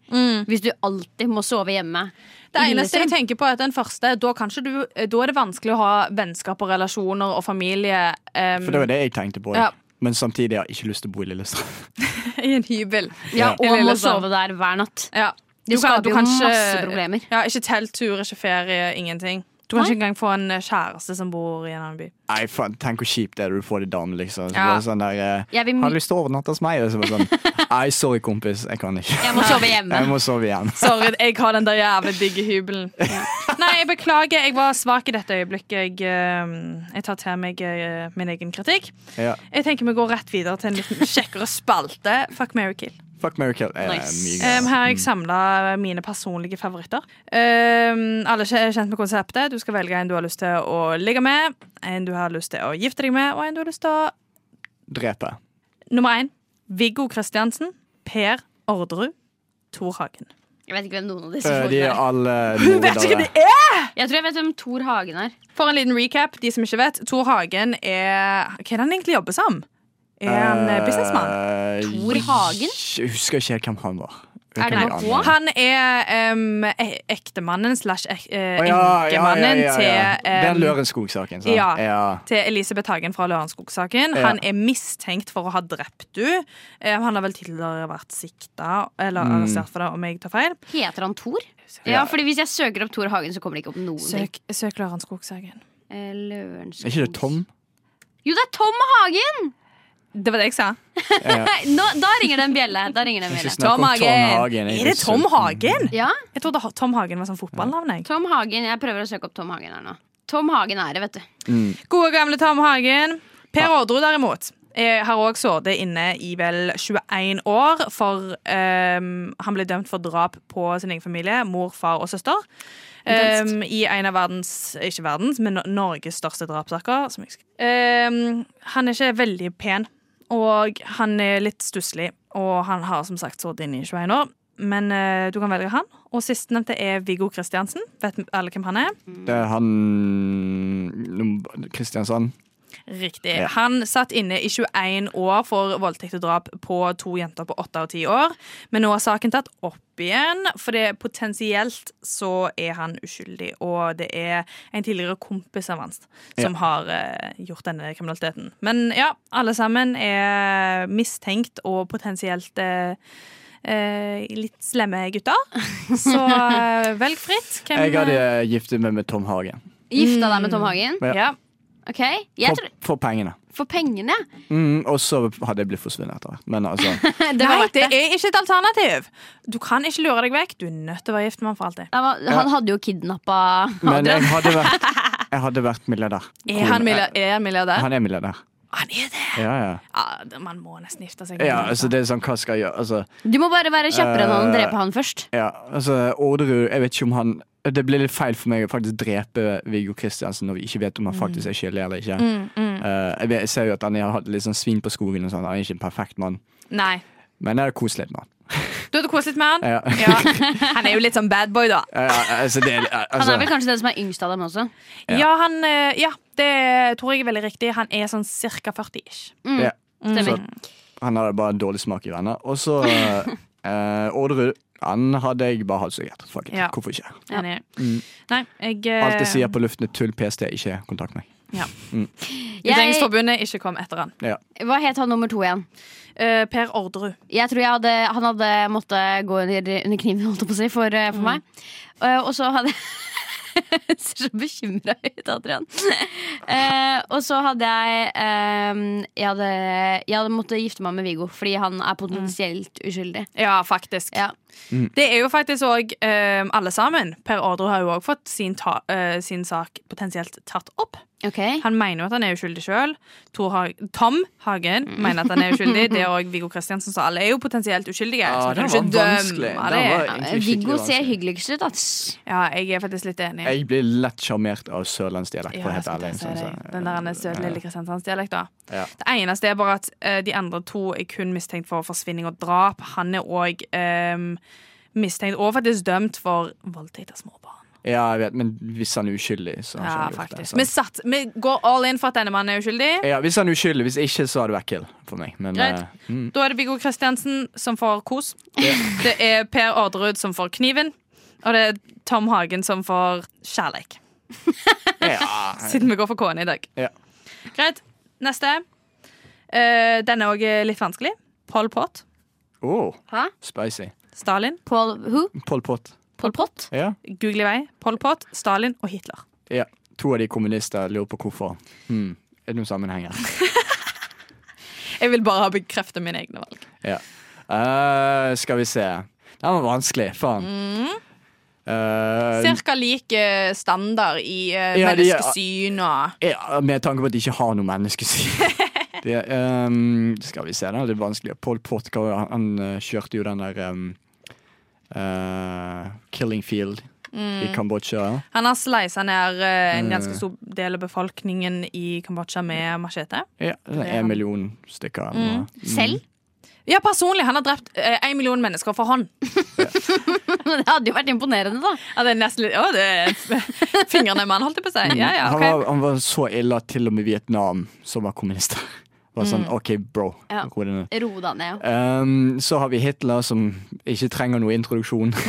Speaker 4: hvis du alltid må sove hjemme.
Speaker 5: Mm. Det
Speaker 4: i
Speaker 5: eneste jeg
Speaker 4: Lillestrøm.
Speaker 5: tenker på er at den første, da, kan ikke du, da er det vanskelig å ha vennskap og relasjoner og familie em,
Speaker 2: For det var det jeg tenkte på.
Speaker 5: Ja.
Speaker 2: Men samtidig har jeg ikke lyst til å bo i Lillestrøm.
Speaker 5: i en hybel.
Speaker 4: ja,
Speaker 5: I
Speaker 4: og må
Speaker 5: Lillestrøm.
Speaker 4: sove der hver natt.
Speaker 5: Ja.
Speaker 4: Det
Speaker 5: Du kan-
Speaker 4: skaper
Speaker 5: du
Speaker 4: jo
Speaker 5: kan ikke-
Speaker 4: masse problemer.
Speaker 5: Ja, ikke telttur, ikke ferie, ingenting. Du kan
Speaker 4: Nei.
Speaker 5: ikke engang få en eh, kjæreste som bor i en annen by.
Speaker 2: Nei, faen, tenk hvor kjipt det er når du får det dame, liksom. Så
Speaker 5: Ja.
Speaker 2: bare sånn der eh,
Speaker 4: Jeg vil-
Speaker 2: Har du lyst til å overnatte hos meg? Og så bare sånn Nei, sorry, kompis, jeg kan ikke.
Speaker 4: Jeg må sove hjemme.
Speaker 2: Jeg må sove igjen.
Speaker 5: Sorry, jeg har den der jævla digge hybelen. Nei, jeg beklager. Jeg var svak i dette øyeblikket. Jeg, em, jeg tar til meg eh, min egen kritikk.
Speaker 2: Ja.
Speaker 5: Jeg tenker vi går rett videre til en litt kjekkere spalte. Fuck Mary Kill.
Speaker 2: Fuck, marry, kill er
Speaker 4: Nice.
Speaker 2: mye
Speaker 5: Um,
Speaker 2: greier.
Speaker 5: her har jeg samla mine personlige favoritter. Um, alle er kjent med konseptet. Du skal velge en du har lyst til å ligge med, en du har lyst til å gifte deg med, og en du har lyst til å
Speaker 2: Drepe.
Speaker 5: Nummer én Viggo Kristiansen. Per Orderud. Tor Hagen.
Speaker 4: Jeg vet ikke hvem noen av disse
Speaker 2: Eh, De
Speaker 4: folkene
Speaker 2: er
Speaker 4: er.
Speaker 2: alle
Speaker 5: Hun vet ikke hvem
Speaker 2: mordere.
Speaker 5: det er!
Speaker 4: Jeg tror jeg vet hvem Thor Hagen er.
Speaker 5: For en liten recap, de som ikke vet. Tor Hagen er Hva er det han egentlig jobber som? Er han eh, businessmann?
Speaker 2: Eh,
Speaker 4: Thor Hagen?
Speaker 2: Jeg husker ikke helt hvem han var. Jeg
Speaker 4: Er det
Speaker 2: kan ikke
Speaker 4: noe
Speaker 2: ane.
Speaker 4: på?
Speaker 5: Han er um, e- ektemannen slash ek- eh,
Speaker 2: Å, ja, ja, ja,
Speaker 5: enkemannen
Speaker 2: ja, ja. Den
Speaker 5: til um,
Speaker 2: Lørenskog-saken, sant?
Speaker 5: ja.
Speaker 2: ja.
Speaker 5: til Elisabeth Hagen fra Lørenskog-saken.
Speaker 2: Ja.
Speaker 5: Han er mistenkt for å ha drept du. Eh, Han har vel tidligere vært sikta eller
Speaker 2: Mm.
Speaker 5: arrestert for det, om jeg tar feil.
Speaker 4: Heter han Thor?
Speaker 2: Ja.
Speaker 4: Ja, fordi hvis jeg søker opp Thor Hagen, så kommer det ikke opp noen ting.
Speaker 5: Søk, søk Lørenskog-saken.
Speaker 4: Eh, Lørenskog.
Speaker 2: Er ikke det Tom?
Speaker 4: Jo, det er Tom Hagen!
Speaker 5: Det var det jeg sa.
Speaker 4: Nei, nå, da ringer det en bjelle. Da ringer det en
Speaker 2: Ikke
Speaker 4: bjelle.
Speaker 2: snakk om Tom Hagen. jeg
Speaker 5: Er det
Speaker 2: husker
Speaker 5: Tom
Speaker 2: ikke. Mm.
Speaker 5: Hagen?
Speaker 4: Ja,
Speaker 5: Jeg trodde ha- Tom Hagen var sånn fotballnavn. jeg.
Speaker 4: Tom Hagen. Jeg prøver å søke opp Tom Hagen her nå. Tom Hagen er det, vet du.
Speaker 2: Mm.
Speaker 5: Gode, gamle Tom Hagen. Per Ordre, derimot. eh, Har òg sittet inne i vel 21 år, for ehm, han ble dømt for drap på sin egen familie, mor, far og søster.
Speaker 4: Intenst.
Speaker 5: Ehm, I en av verdens, ikke verdens, men Nor- Norges største drapssaker. Som jeg sk- Ehm, han er ikke veldig pen, og han er litt stusslig. Og han har som sagt sittet inne i 21 år. Men eh, du kan velge han. Og sistnevnte er Viggo Kristiansen. Vet alle hvem han er?
Speaker 2: Det er han Num- Kristiansand.
Speaker 5: Riktig.
Speaker 2: Ja.
Speaker 5: Han satt inne i 21 år for voldtekt og drap på to jenter på 8 og 10 år. Men nå er saken tatt opp igjen, for det potensielt så er han uskyldig. Og det er en tidligere kompis av hans som har eh, gjort denne kriminaliteten. Men ja, alle sammen er mistenkt og potensielt eh, eh, litt slemme gutter. Så eh, velg fritt. Hvem,
Speaker 2: Jeg hadde giftet meg med Tom Hagen.
Speaker 4: Gifta deg med
Speaker 2: Mm.
Speaker 4: Tom Hagen?
Speaker 2: Ja.
Speaker 5: ja.
Speaker 4: Ok, jeg
Speaker 2: For,
Speaker 4: tror,
Speaker 2: for pengene.
Speaker 4: For pengene.
Speaker 2: Mm, og så hadde jeg blitt forsvunnet etter hvert. Men altså,
Speaker 4: Det var
Speaker 5: Nei,
Speaker 4: verdt
Speaker 5: det
Speaker 4: det.
Speaker 5: er ikke et alternativ. Du kan ikke lure deg vekk. Du er nødt til å være gift med ham for alltid.
Speaker 4: Han var- Han hadde jo kidnappa
Speaker 2: men
Speaker 4: Adrian.
Speaker 2: jeg hadde vært, jeg hadde vært milliardær.
Speaker 5: Er han milliardær? Er han, milliardær?
Speaker 2: Han er milliardær.
Speaker 5: han er det!
Speaker 2: Ja, ja.
Speaker 5: Ja, det- man må nesten gifte seg.
Speaker 2: ja altså, det er sånn, hva skal jeg gjøre? Altså,
Speaker 4: Du må bare være kjappere enn han og
Speaker 2: Eh,
Speaker 4: drepe han først.
Speaker 2: ja, altså Orderud, jeg vet ikke om han Det blir litt feil for meg å faktisk drepe Viggo Kristiansen når vi ikke vet om han faktisk er skyldig eller ikke.
Speaker 5: Mm, mm.
Speaker 2: Eh, jeg, vet, jeg ser jo at han har hatt litt sånn svin på skogen og sånn. Han er ikke en perfekt mann,
Speaker 5: Nei.
Speaker 2: men jeg er koselig med han.
Speaker 5: Du hadde koset litt med han.
Speaker 2: Ja, ja,
Speaker 5: Ja. Han er jo litt sånn bad boy, da.
Speaker 2: altså, det, er-
Speaker 4: Han
Speaker 2: altså,
Speaker 4: er vel kanskje den som er yngst av dem også.
Speaker 5: Ja,
Speaker 2: Ja.
Speaker 5: han, eh, ja det tror jeg er veldig riktig. Han er sånn ca. 40-ish.
Speaker 4: Mm.
Speaker 2: Ja.
Speaker 4: Stemmer.
Speaker 2: Han hadde bare dårlig smak i venner. Og så eh, Orderud. Han hadde jeg bare halshugget. Fuck it.
Speaker 5: Ja.
Speaker 2: Hvorfor ikke?
Speaker 5: Han er- Nei, jeg eh,
Speaker 2: Alt jeg sier på luften er tull, PST, ikke kontakt meg.
Speaker 4: Jeg,
Speaker 5: Utlendingsforbundet ikke kom etter han.
Speaker 4: hva het han nummer to igjen?
Speaker 5: Eh, per Orderud.
Speaker 4: Jeg tror jeg hadde, han hadde måttet gå under, under kniven holdt jeg på å si, for, eh, for meg. Eh, og så hadde jeg Ser så bekymra ut, Adrian. Eh, og så hadde jeg eh, jeg, hadde, jeg hadde måttet gifte meg med Viggo, fordi han er potensielt uskyldig.
Speaker 5: Ja, faktisk.
Speaker 4: Ja.
Speaker 5: Det er jo faktisk òg alle sammen. Per Orderud har jo òg fått sin, ta, eh, sin sak potensielt tatt opp.
Speaker 4: Ok
Speaker 5: Han mener jo at han er uskyldig sjøl. Tom Hagen mener at han er uskyldig. Det er òg Viggo Kristiansen, så alle er jo potensielt uskyldige. så man kan jo ikke dømme det.
Speaker 4: Eh, Viggo ser hyggeligst ut, ass.
Speaker 5: Ja, jeg er faktisk litt enig.
Speaker 2: Jeg blir lett sjarmert av sørlandsdialekt. for å
Speaker 5: Ja,
Speaker 2: være
Speaker 5: jeg
Speaker 2: helt ærlig.
Speaker 5: skal til å si
Speaker 2: Sånn,
Speaker 5: det.
Speaker 2: så-
Speaker 5: Den der han er søte lille Kristiansandsdialekt, da.
Speaker 2: Ja.
Speaker 5: Det eneste er bare at eh, de andre to er kun mistenkt for forsvinning og drap. Han er òg mistenkt og faktisk dømt for voldtekt av små barn.
Speaker 2: ja, jeg vet, men hvis han er uskyldig, så har
Speaker 5: Ja,
Speaker 2: ikke han gjort det.
Speaker 5: faktisk.
Speaker 2: sant?
Speaker 5: Vi, satt, vi går all in for at denne mannen er uskyldig.
Speaker 2: Ja, hvis han er uskyldig. Hvis ikke, så hadde det vært kill for meg. Men
Speaker 5: Greit.
Speaker 2: eh, mm,
Speaker 5: Da er det Viggo Kristiansen som får kos. Det er Per Orderud som får kniven. Og det er Tom Hagen som får kjærleik.
Speaker 2: eh, ja.
Speaker 5: Siden vi går for K-en i dag.
Speaker 2: Ja.
Speaker 5: Greit. Neste. Eh, den er òg litt vanskelig. Pol Pot.
Speaker 2: Oh,
Speaker 4: Hæ?
Speaker 2: spicy.
Speaker 5: Stalin.
Speaker 4: Paul who?
Speaker 2: Pol Pot.
Speaker 4: Pol Pot?
Speaker 2: Ja.
Speaker 5: Google i vei. Pol Pot, Stalin og Hitler.
Speaker 2: ja. To av de kommunister lurer på hvorfor. Hmm. Er det noen sammenheng her?
Speaker 5: Jeg vil bare bekrefte mine egne valg.
Speaker 2: Ja. Eh, skal vi se. Den var vanskelig. Faen.
Speaker 5: Mm.
Speaker 2: Eh,
Speaker 5: Cirka lik eh, standard i eh,
Speaker 2: Ja, de-
Speaker 5: menneskesyn og
Speaker 2: ja, med tanke på at de ikke har noe menneskesyn. Det, ehm, skal vi se, da. Det er vanskelig. Paul Pott hva var det? han, han eh, kjørte jo den der ehm, eh, Killing Field i Kambodsja.
Speaker 5: Han har sleisa ned eh,
Speaker 2: Mm.
Speaker 5: en ganske stor del av befolkningen i Kambodsja med machete.
Speaker 2: Ja, det
Speaker 5: er
Speaker 2: er
Speaker 5: han.
Speaker 2: en million stykker. eller noe.
Speaker 4: Selv?
Speaker 5: Ja, personlig. Han har drept én million mennesker for hånd.
Speaker 4: Men det hadde jo vært imponerende, da.
Speaker 5: Ja, det er nesten litt Å, det er f- fingrene i mannen, holdt jeg på å si. Ja,
Speaker 2: Mm.
Speaker 5: ja,
Speaker 2: han,
Speaker 5: ok.
Speaker 2: var, han var så ille at til og med Vietnam, som var kommunister, var sånn OK, bro.
Speaker 4: Ja.
Speaker 2: Ro deg ned.
Speaker 4: Ro deg ned.
Speaker 2: Ehm, så har vi Hitler, som ikke trenger noe introduksjon.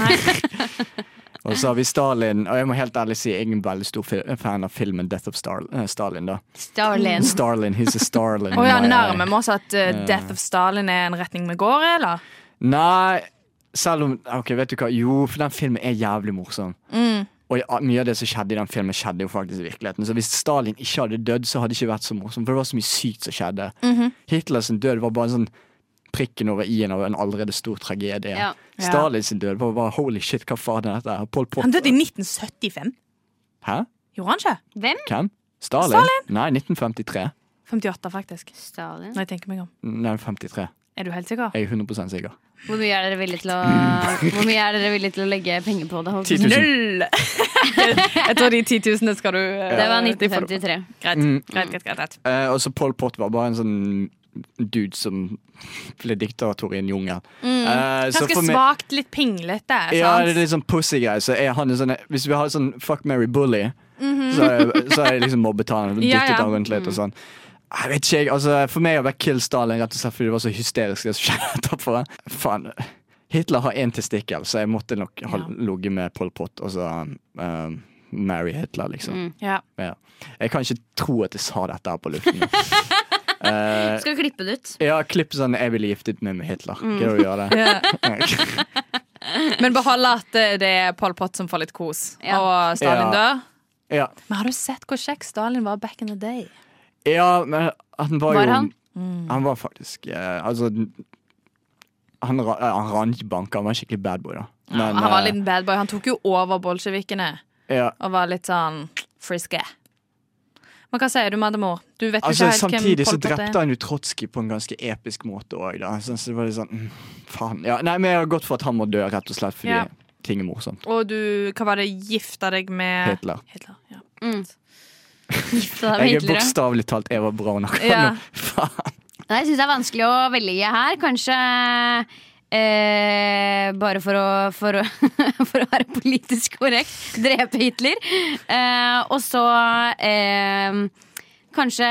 Speaker 2: og så har vi Stalin. Og jeg må helt ærlig si jeg er en veldig stor fi- fan av filmen 'Death of Star eh, Stalin'. da
Speaker 4: Starlin.
Speaker 2: Starlin, he's a Starlin.
Speaker 5: Å ja,
Speaker 2: my eye.
Speaker 5: nærmer vi oss at eh, Death of Stalin er en retning vi går, i, eller?
Speaker 2: Nei, selv om Ok, vet du hva? Jo, for den filmen er jævlig morsom. Og ja, mye av det som skjedde i den filmen, skjedde jo faktisk i virkeligheten. Så hvis Stalin ikke hadde dødd, så hadde det ikke vært så morsomt. For det var så mye sykt som skjedde. Hitlers død var bare en sånn prikken over i-en av en allerede stor tragedie.
Speaker 4: Ja.
Speaker 2: Stalins død var bare holy shit, hva faen er dette? her? Pol Pot
Speaker 5: Han døde i 1975.
Speaker 2: Hæ?
Speaker 5: Gjorde han ikke?
Speaker 4: Hvem?
Speaker 2: Hvem? Stalin? Nei, 1953.
Speaker 5: 58, faktisk.
Speaker 4: Stalin.
Speaker 5: Når jeg tenker meg om.
Speaker 2: Nei, 53.
Speaker 5: Er du helt sikker?
Speaker 2: Jeg er 100 sikker.
Speaker 4: Hvor mye er dere villige til å,
Speaker 2: Mm.
Speaker 4: hvor mye er dere villige til å legge penger på det? holdt
Speaker 2: 10
Speaker 4: jeg på å si?
Speaker 2: 000.
Speaker 5: Null! jeg tror de 10 000 skal du eh,
Speaker 4: Det var
Speaker 5: de får du.
Speaker 4: 1953.
Speaker 5: Greit,
Speaker 2: Mm.
Speaker 5: greit, greit, greit, greit.
Speaker 2: Eh, og så Pol Pot var bare en sånn dude som ble diktator i en jungel. Eh, så
Speaker 5: Mm. Ganske
Speaker 2: for meg-
Speaker 5: svakt, litt pinglete.
Speaker 2: Ja,
Speaker 5: sant?
Speaker 2: det er litt sånn pussy-greier. Så er han en sånn, hvis vi har sånn fuck, marry, bully, så, er, så er jeg liksom mobbet han. Dyttet
Speaker 5: Mhm. Ja, Mm. ja.
Speaker 2: han rundt litt og sånn. Jeg vet ikke, jeg, altså For meg har det vært Kill Stalin rett og slett fordi det var så hysterisk. Det som skjedde etterpå. Faen. Hitler har én testikkel, så jeg måtte nok ha
Speaker 5: Ja.
Speaker 2: ligget med Pol Pot og så eh, marry Hitler, liksom.
Speaker 5: Ja.
Speaker 2: Ja. Jeg kan ikke tro at jeg sa dette her på luften. Eh,
Speaker 4: Skal vi klippe det ut?
Speaker 2: Ja, klipp sånn 'Jeg ville giftet meg med Hitler'.
Speaker 5: Mm.
Speaker 2: Greier du å gjøre det?
Speaker 5: Men behold at eh, det er Pol Pot som får litt kos,
Speaker 4: Ja.
Speaker 5: og Stalin
Speaker 2: Ja.
Speaker 5: dør.
Speaker 2: Ja,
Speaker 5: Men har du sett hvor kjekk Stalin var back in the day?
Speaker 2: ja men han var,
Speaker 4: Var
Speaker 2: jo
Speaker 4: han?
Speaker 2: Han var faktisk eh, Altså Han, ra- eh, han rant ikke banker, han var en skikkelig badboy, da. Men,
Speaker 5: han var en
Speaker 2: eh,
Speaker 5: liten bad boy. Han tok jo over bolsjevikene
Speaker 2: ja.
Speaker 5: og var litt sånn friske. Men hva sier du, Mademor? Du vet jo
Speaker 2: Altså,
Speaker 5: ikke helt
Speaker 2: samtidig
Speaker 5: hvem
Speaker 2: så
Speaker 5: Pol Pot
Speaker 2: drepte
Speaker 5: er.
Speaker 2: han jo Trotskij på en ganske episk måte òg, da. Så så det var litt sånn mm, Faen. Ja, nei, men jeg har gått for at han må dø, rett og slett, fordi
Speaker 5: Ja.
Speaker 2: ting er morsomt.
Speaker 5: Og du, hva var det, gifta deg med
Speaker 2: Hitler.
Speaker 5: Hitler, ja.
Speaker 4: Mm. Gifte deg med
Speaker 2: Jeg er
Speaker 4: Hitler, ja.
Speaker 2: bokstavelig talt Eva Braun akkurat
Speaker 5: Ja.
Speaker 2: nå. Faen.
Speaker 4: Nei, Jeg syns det er vanskelig å velge her. Kanskje eh, bare for å, for, å, for å være politisk korrekt. Drepe Hitler. Eh, og så eh, kanskje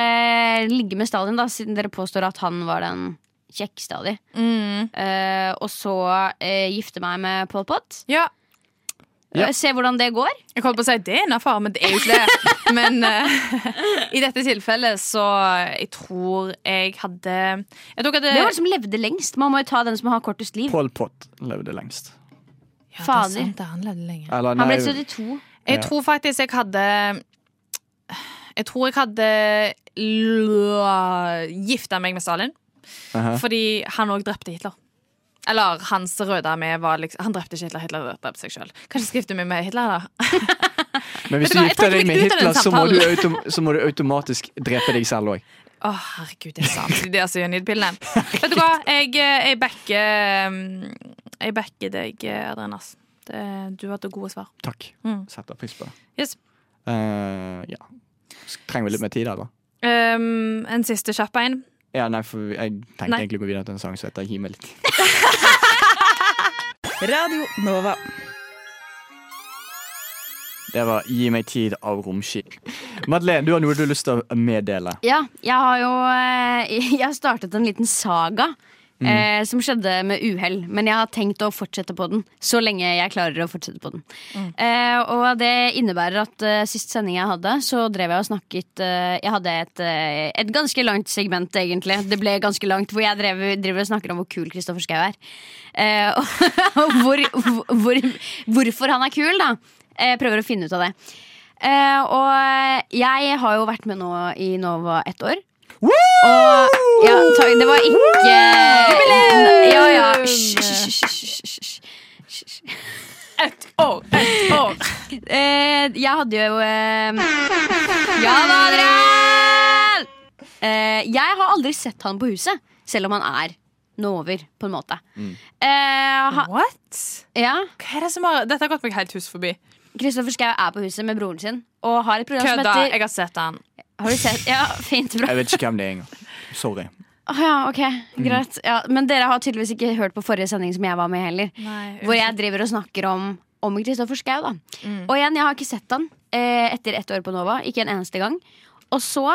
Speaker 4: ligge med Stalin, da, siden dere påstår at han var den kjekkeste av de.
Speaker 5: Mm.
Speaker 4: Eh, og så eh, gifte meg med Pol Pot.
Speaker 5: ja.
Speaker 2: Ja.
Speaker 4: Eh, Se hvordan det går.
Speaker 5: Jeg holdt på å si det er innafor, men det er jo ikke det. Men eh, i dette tilfellet så Jeg tror jeg hadde Jeg tror jeg hadde
Speaker 4: Hvem var det som levde lengst? Man må jo ta den som har kortest liv.
Speaker 2: Pol Pot levde lengst.
Speaker 5: Ja, det er
Speaker 4: Fader.
Speaker 5: sant, det, han levde lenge.
Speaker 2: Eller,
Speaker 4: Han ble
Speaker 2: nei,
Speaker 4: 72.
Speaker 5: Jeg tror faktisk jeg hadde Jeg tror jeg hadde l- gifta meg med Stalin.
Speaker 2: aha.
Speaker 5: Fordi han òg drepte Hitler. Eller hans røde med var liksom Han drepte ikke Hitler, Hitler drepte seg sjøl. Kanskje jeg skal gifte meg med Hitler, da.
Speaker 2: Men hvis
Speaker 5: Vet
Speaker 2: du
Speaker 5: du hva, jeg
Speaker 2: gifter
Speaker 5: trekker
Speaker 2: deg
Speaker 5: meg
Speaker 2: med
Speaker 5: ut av den
Speaker 2: Hitler, så må, du
Speaker 5: samtalen.
Speaker 2: autom så må du automatisk drepe deg selv òg.
Speaker 5: Å, herregud, det er sant. Det er altså cyanidpillene. Vet du hva, jeg, eh, jeg backer um, Jeg backer deg, Adrenas. Det, du hadde gode svar.
Speaker 2: Takk.
Speaker 5: Mm.
Speaker 2: Setter pris på det.
Speaker 5: Yes.
Speaker 2: Eh, ja. S- Trenger vi litt mer tid, eller?
Speaker 5: Um, en siste kjapp en.
Speaker 2: Ja, nei, for jeg tenkte
Speaker 5: Nei.
Speaker 2: egentlig å gå videre til en sang som heter Gi meg litt.
Speaker 8: Radio Nova.
Speaker 2: Det var Gi meg tid av romskip. Madeleine, du har noe du har lyst til å meddele.
Speaker 4: Ja, jeg har jo eh, Jeg har startet en liten saga eh, som skjedde med uhell. Men jeg har tenkt å fortsette på den så lenge jeg klarer å fortsette på den. Eh, og det innebærer at eh, sist sending jeg hadde, så drev jeg og snakket eh, Jeg hadde et, eh, et ganske langt segment, egentlig. Det ble ganske langt, hvor jeg drev, driver og snakker om hvor kul Kristoffer Schou er. Eh, og og hvor, hvor, hvorfor han er kul, da. Eh, prøver å finne ut av det. Eh, og jeg har jo vært med nå i Nova ett år. Og ja, takk, det var ikke Ja, ja. Hysj, hysj, hysj, hysj, hysj, hysj.
Speaker 5: Ett år! Ett år!
Speaker 4: Eh, jeg hadde jo eh, Ja da, Adrian! Eh, jeg har aldri sett han på huset, selv om han er nå over, på en måte. Eh, ha,
Speaker 5: What?
Speaker 4: ja,
Speaker 5: Hva er det som har Dette har gått meg helt hus forbi.
Speaker 4: Kristoffer Schau er på huset med broren sin og har et program
Speaker 5: Kødda.
Speaker 4: som heter
Speaker 5: Jeg har sett den.
Speaker 4: Har du sett? Ja, fint, bra.
Speaker 2: Jeg vet ikke hvem det er engang. Sorry.
Speaker 4: Å ja, ok, greit ja, Men dere har tydeligvis ikke hørt på forrige sending som jeg var med i heller
Speaker 5: Nei,
Speaker 4: Hvor jeg driver og snakker om Om Kristoffer Skau da Og igjen, jeg har ikke sett han eh, Etter ett år på Nova, ikke en eneste gang Og så,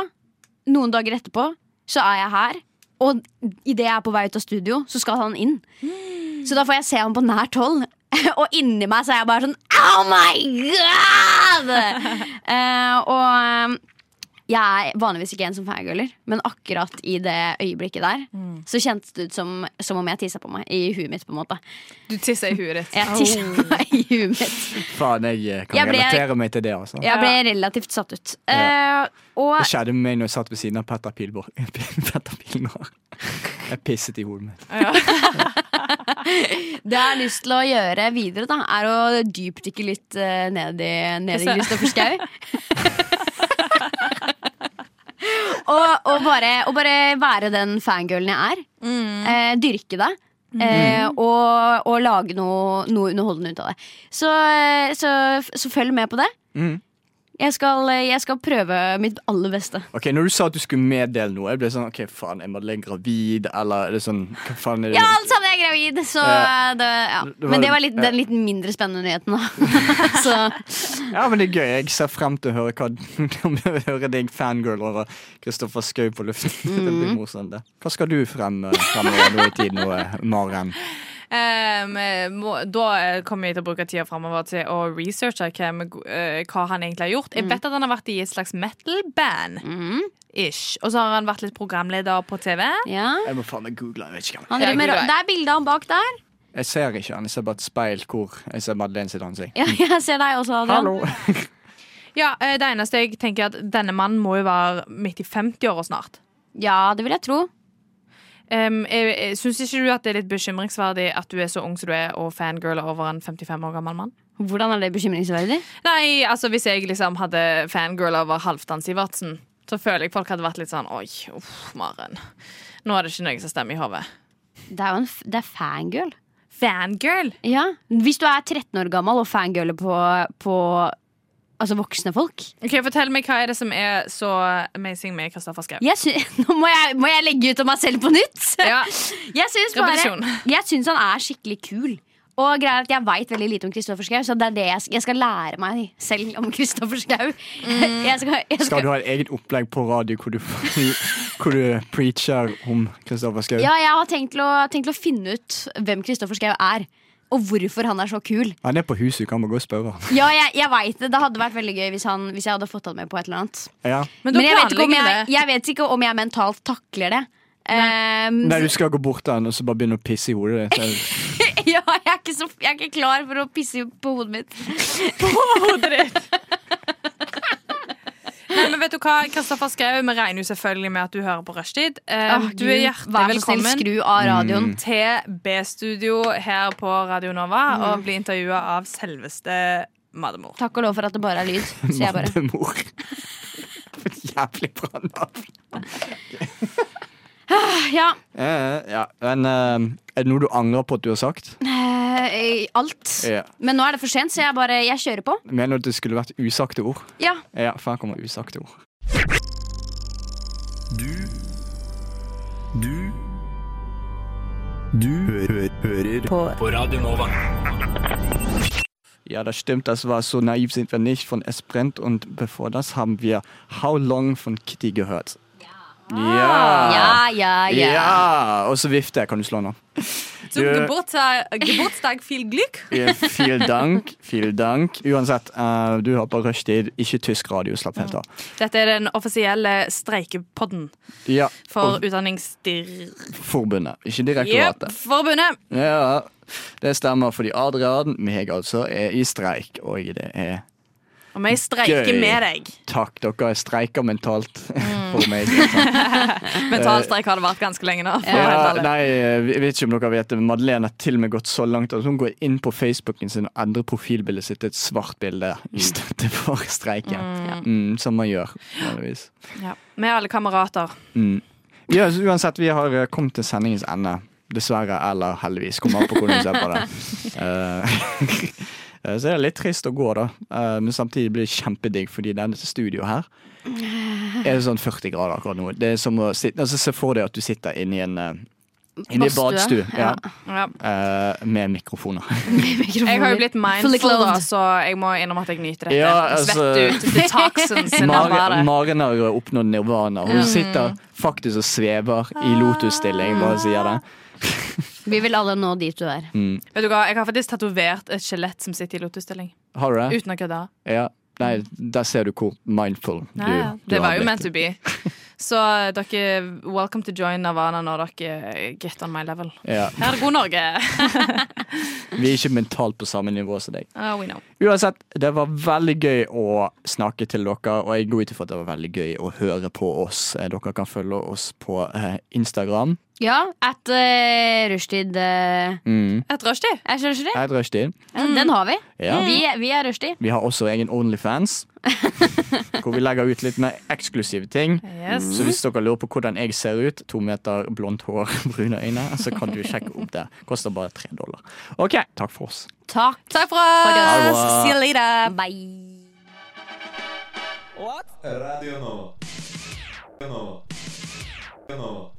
Speaker 4: noen dager etterpå Så er jeg her Og i det jeg er på vei ut av studio, så skal han inn Så da får jeg se han på nært hold og inni meg så er jeg bare sånn Oh my god! Eh, og eh, jeg er vanligvis ikke en som fangirler, men akkurat i det øyeblikket der så kjentes det ut som, som om jeg tissa på meg i huet mitt. på en måte
Speaker 5: Du tisser i huet ditt.
Speaker 4: Jeg tisset på meg i huet mitt
Speaker 2: Faen, jeg eh, kan
Speaker 4: Jeg ble-
Speaker 2: relatere meg til det, altså.
Speaker 4: Jeg ble relativt satt ut. Eh,
Speaker 2: Det
Speaker 4: og
Speaker 2: skjedde med meg når jeg satt ved siden av Petter Pilborg. Petter Pilnar. Jeg pisset i hodet mitt.
Speaker 4: det jeg har lyst til å gjøre videre, da er å dypdykke litt eh, ned i, ned i
Speaker 5: ser-
Speaker 4: Kristoffer Schau. og, og, bare, og bare være den fangirlen jeg er. Eh, dyrke det. Eh, og, og lage noe, noe underholdende ut av det. Så, eh, så, så følg med på det.
Speaker 2: Mm.
Speaker 4: Jeg, skal, eh, jeg skal prøve mitt aller beste.
Speaker 2: Ok, Når du sa at du skulle meddele noe, jeg ble sånn OK, faen, er Madeleine gravid, eller er det sånn Hva faen er det?
Speaker 4: Ja, altså- alle sammen er gravid, så eh,
Speaker 2: Ja.
Speaker 4: det, ja.
Speaker 2: var-
Speaker 4: Men det var litt,
Speaker 2: ja.
Speaker 4: den litt mindre spennende nyheten, da. så
Speaker 2: Ja, men det er gøy. Jeg ser frem til å høre hva om jeg hører deg fangirl over Kristoffer Schou på luften. Det
Speaker 4: Mhm.
Speaker 2: blir morsomt, det. Hva skal du frem eh, fremover nå i tid nå, eh, Maren?
Speaker 5: Ehm, eh, må, da eh, kommer jeg til å bruke tida framover til å researche hvem, eh, hva han egentlig har gjort. Jeg vet at han har vært i et slags metal-band. Ish. Og så har han vært litt programleder på TV.
Speaker 4: ja.
Speaker 2: Jeg må faen meg google. Jeg vet ikke hvem.
Speaker 4: Han driver med ra-
Speaker 5: Ja,
Speaker 4: Det er bildet av han bak der.
Speaker 2: Jeg ser ikke han. Jeg ser bare et speil hvor jeg ser Madeleine sitt ansikt.
Speaker 4: Ja, jeg ser deg også, Adrian.
Speaker 2: Hallo!
Speaker 5: Ja, eh, Det eneste jeg tenker er at denne mannen må jo være midt i 50-åra snart.
Speaker 4: Ja, det vil jeg tro.
Speaker 5: Ehm, jeg, jeg Syns ikke du at det er litt bekymringsverdig at du er så ung som du er, og fangirl over en 55 år gammel mann?
Speaker 4: Hvordan er det bekymringsverdig?
Speaker 5: Nei, altså Hvis jeg liksom hadde fangirl over Halvdan Sivertsen, så føler jeg folk hadde vært litt sånn Oi, uff, Maren. Nå er det ikke noe som stemmer i hodet.
Speaker 4: Det er jo en f det er fangirl.
Speaker 5: Fangirl?
Speaker 4: Ja. Hvis du er 13 år gammel og fangirler på, på altså voksne folk
Speaker 5: Ok, Fortell meg hva er det som er så amazing med Kristoffer Schau.
Speaker 4: jeg sy Nå må jeg, må jeg legge ut om meg selv på nytt!
Speaker 5: Ja.
Speaker 4: Jeg syns bare
Speaker 5: Repetisjon.
Speaker 4: Jeg syns han er skikkelig kul. Og greia er at Jeg veit veldig lite om Kristoffer Schau, så det er det jeg, jeg skal lære meg selv om Kristoffer Schau.
Speaker 5: Mm.
Speaker 4: Jeg skal, jeg
Speaker 2: Skal
Speaker 4: skal,
Speaker 2: du ha et eget opplegg på radio hvor du, hvor du preacher om Kristoffer Schou?
Speaker 4: ja, jeg har tenkt til, å, tenkt til å finne ut hvem Kristoffer Schau er. Og hvorfor han er så kul.
Speaker 2: Han er på huset, kan man gå og spørre. han.
Speaker 4: Ja, jeg, jeg vet Det det hadde vært veldig gøy hvis, han, hvis jeg hadde fått han med på et eller annet.
Speaker 2: Ja.
Speaker 5: Men da
Speaker 4: Men jeg vet, ikke om
Speaker 5: planlegger vi
Speaker 4: jeg,
Speaker 5: det.
Speaker 4: jeg vet ikke om jeg mentalt takler det. Ehm,
Speaker 2: Nei, du skal gå bort til han og så bare begynne å pisse i hodet ditt. Jeg-
Speaker 4: ja, jeg, er ikke så, jeg er ikke klar for å pisse på hodet mitt.
Speaker 5: Nei, men vet du hva, Kristoffer Schau, vi regner jo selvfølgelig med at du hører på Rushtid. Eh,
Speaker 4: Åh,
Speaker 5: du
Speaker 4: Gud,
Speaker 5: er hjertelig
Speaker 4: vær så snill,
Speaker 5: velkommen
Speaker 4: Skru av radioen.
Speaker 5: til B-studio her på Radio Nova
Speaker 4: Mm.
Speaker 5: og bli intervjua av selveste Mademor.
Speaker 4: Takk og lov for at det bare er lyd. sier jeg bare.
Speaker 2: Matemor. Jævlig bra navn.
Speaker 4: Ja,
Speaker 2: Eh, ja, men eh, er det noe du angrer på at du har sagt?
Speaker 4: eh, alt.
Speaker 2: Ja.
Speaker 4: Men nå er det for sent, så jeg bare jeg kjører på.
Speaker 2: Mener du at det skulle vært usagte ord?
Speaker 4: Ja.
Speaker 2: Ja, for her kommer usagte ord.
Speaker 7: Du Du Du hø hø hører på
Speaker 2: Ja, das stimmt, das war so naiv sind wir nicht von Es brennt und bevor das haben wir How Long von Kitty gehört.
Speaker 4: Ah, Ja, ja, ja.
Speaker 2: Ah. Ja! Og så vifter jeg. Kan du slå nå?
Speaker 5: Zum
Speaker 2: Du-
Speaker 5: Geburtstag, Geburtstag viel Glück.
Speaker 2: Ja, Vielen Eh, dank. Vielen dank. Uansett, eh, du hører på rushtid, ikke tysk radio. Slapp helt av.
Speaker 5: Dette er den offisielle streikepodden
Speaker 2: Ja,
Speaker 5: for
Speaker 2: og
Speaker 5: Utdanningsdirektoratet.
Speaker 2: forbundet, ikke direktoratet.
Speaker 5: Forbundet.
Speaker 2: Ja, det stemmer, fordi Adrian, meg altså, er i streik, og det er
Speaker 5: Og vi streiker
Speaker 2: Gøy.
Speaker 5: med deg.
Speaker 2: Takk, dere streiker mentalt for meg.
Speaker 9: Mentalstreik har det vært ganske lenge nå. for
Speaker 2: Eh, Ja,
Speaker 9: alle.
Speaker 2: nei, jeg vet ikke om dere vet det, men Madeleine har til og med gått så langt at hun går inn på Facebooken sin og endrer profilbildet sitt til et svart bilde i støtte for streiken. Mm, som man gjør, vanligvis.
Speaker 5: Ja. Vi er alle kamerater.
Speaker 2: Mm. Ja, så uansett, vi har eh, kommet til sendingens ende. Dessverre eller heldigvis. Kommer an på hvordan du ser på det. Eh, så det er litt trist å gå, da. Eh, men samtidig blir det kjempedigg, fordi denne studioet her er det sånn 40 grader akkurat nå. Det er som å sitte, altså, Se for deg at du sitter inne i en eh, Inne i badstue.
Speaker 4: Badstue,
Speaker 2: Ja.
Speaker 5: Ja.
Speaker 2: Eh, med mikrofoner.
Speaker 5: Jeg har jo blitt mindful, da,
Speaker 4: clothed.
Speaker 5: så jeg må innrømme at jeg nyter dette.
Speaker 2: Ja, altså-
Speaker 5: Svett ut the toxins in
Speaker 2: Maren
Speaker 5: Mare.
Speaker 2: Maren har jo oppnådd nirvana. Hun sitter faktisk og svever i lotusstilling, bare sier det.
Speaker 4: Vi vil alle nå dit du er.
Speaker 2: Mm.
Speaker 5: Vet du hva, Jeg har faktisk tatovert et skjelett som sitter i lotusstilling.
Speaker 2: Har du det?
Speaker 5: Uten å kødde.
Speaker 2: Ja. Nei, der ser du hvor mindful du,
Speaker 5: Ja, ja.
Speaker 2: du
Speaker 5: Det
Speaker 2: har
Speaker 5: var jo
Speaker 2: blitt.
Speaker 5: meant to be. Så dere, welcome to join Nirvana når dere eh, get on my level.
Speaker 2: Ja.
Speaker 5: Her er det god Norge.
Speaker 2: Vi er ikke mentalt på samme nivå som deg.
Speaker 5: Oh, we know.
Speaker 2: Uansett, det var veldig gøy å snakke til dere, og jeg går ut ifra at det var veldig gøy å høre på oss. Eh, Dere kan følge oss på eh, Instagram.
Speaker 4: Ja, at uh, rushtid eh,
Speaker 2: Mm.
Speaker 5: Et rushtid.
Speaker 4: er ikke rushtid?
Speaker 2: Jeg drøster inn.
Speaker 4: Ja, Den har vi.
Speaker 2: Ja.
Speaker 5: Mm.
Speaker 4: Vi, vi er rushtid.
Speaker 2: Vi har også egen Onlyfans, hvor vi legger ut litt mer eksklusive ting.
Speaker 5: Yes.
Speaker 2: Så hvis dere lurer på hvordan jeg ser ut, to meter blondt hår, brune øyne, så kan du sjekke opp det. Koster bare tre dollar. OK, takk for oss.
Speaker 4: Takk.
Speaker 9: Takk for
Speaker 2: Ha det
Speaker 9: oss!
Speaker 2: bra.
Speaker 9: See you later!
Speaker 4: Bye.
Speaker 1: Radio Nova. Radio Nova. Radio Nova.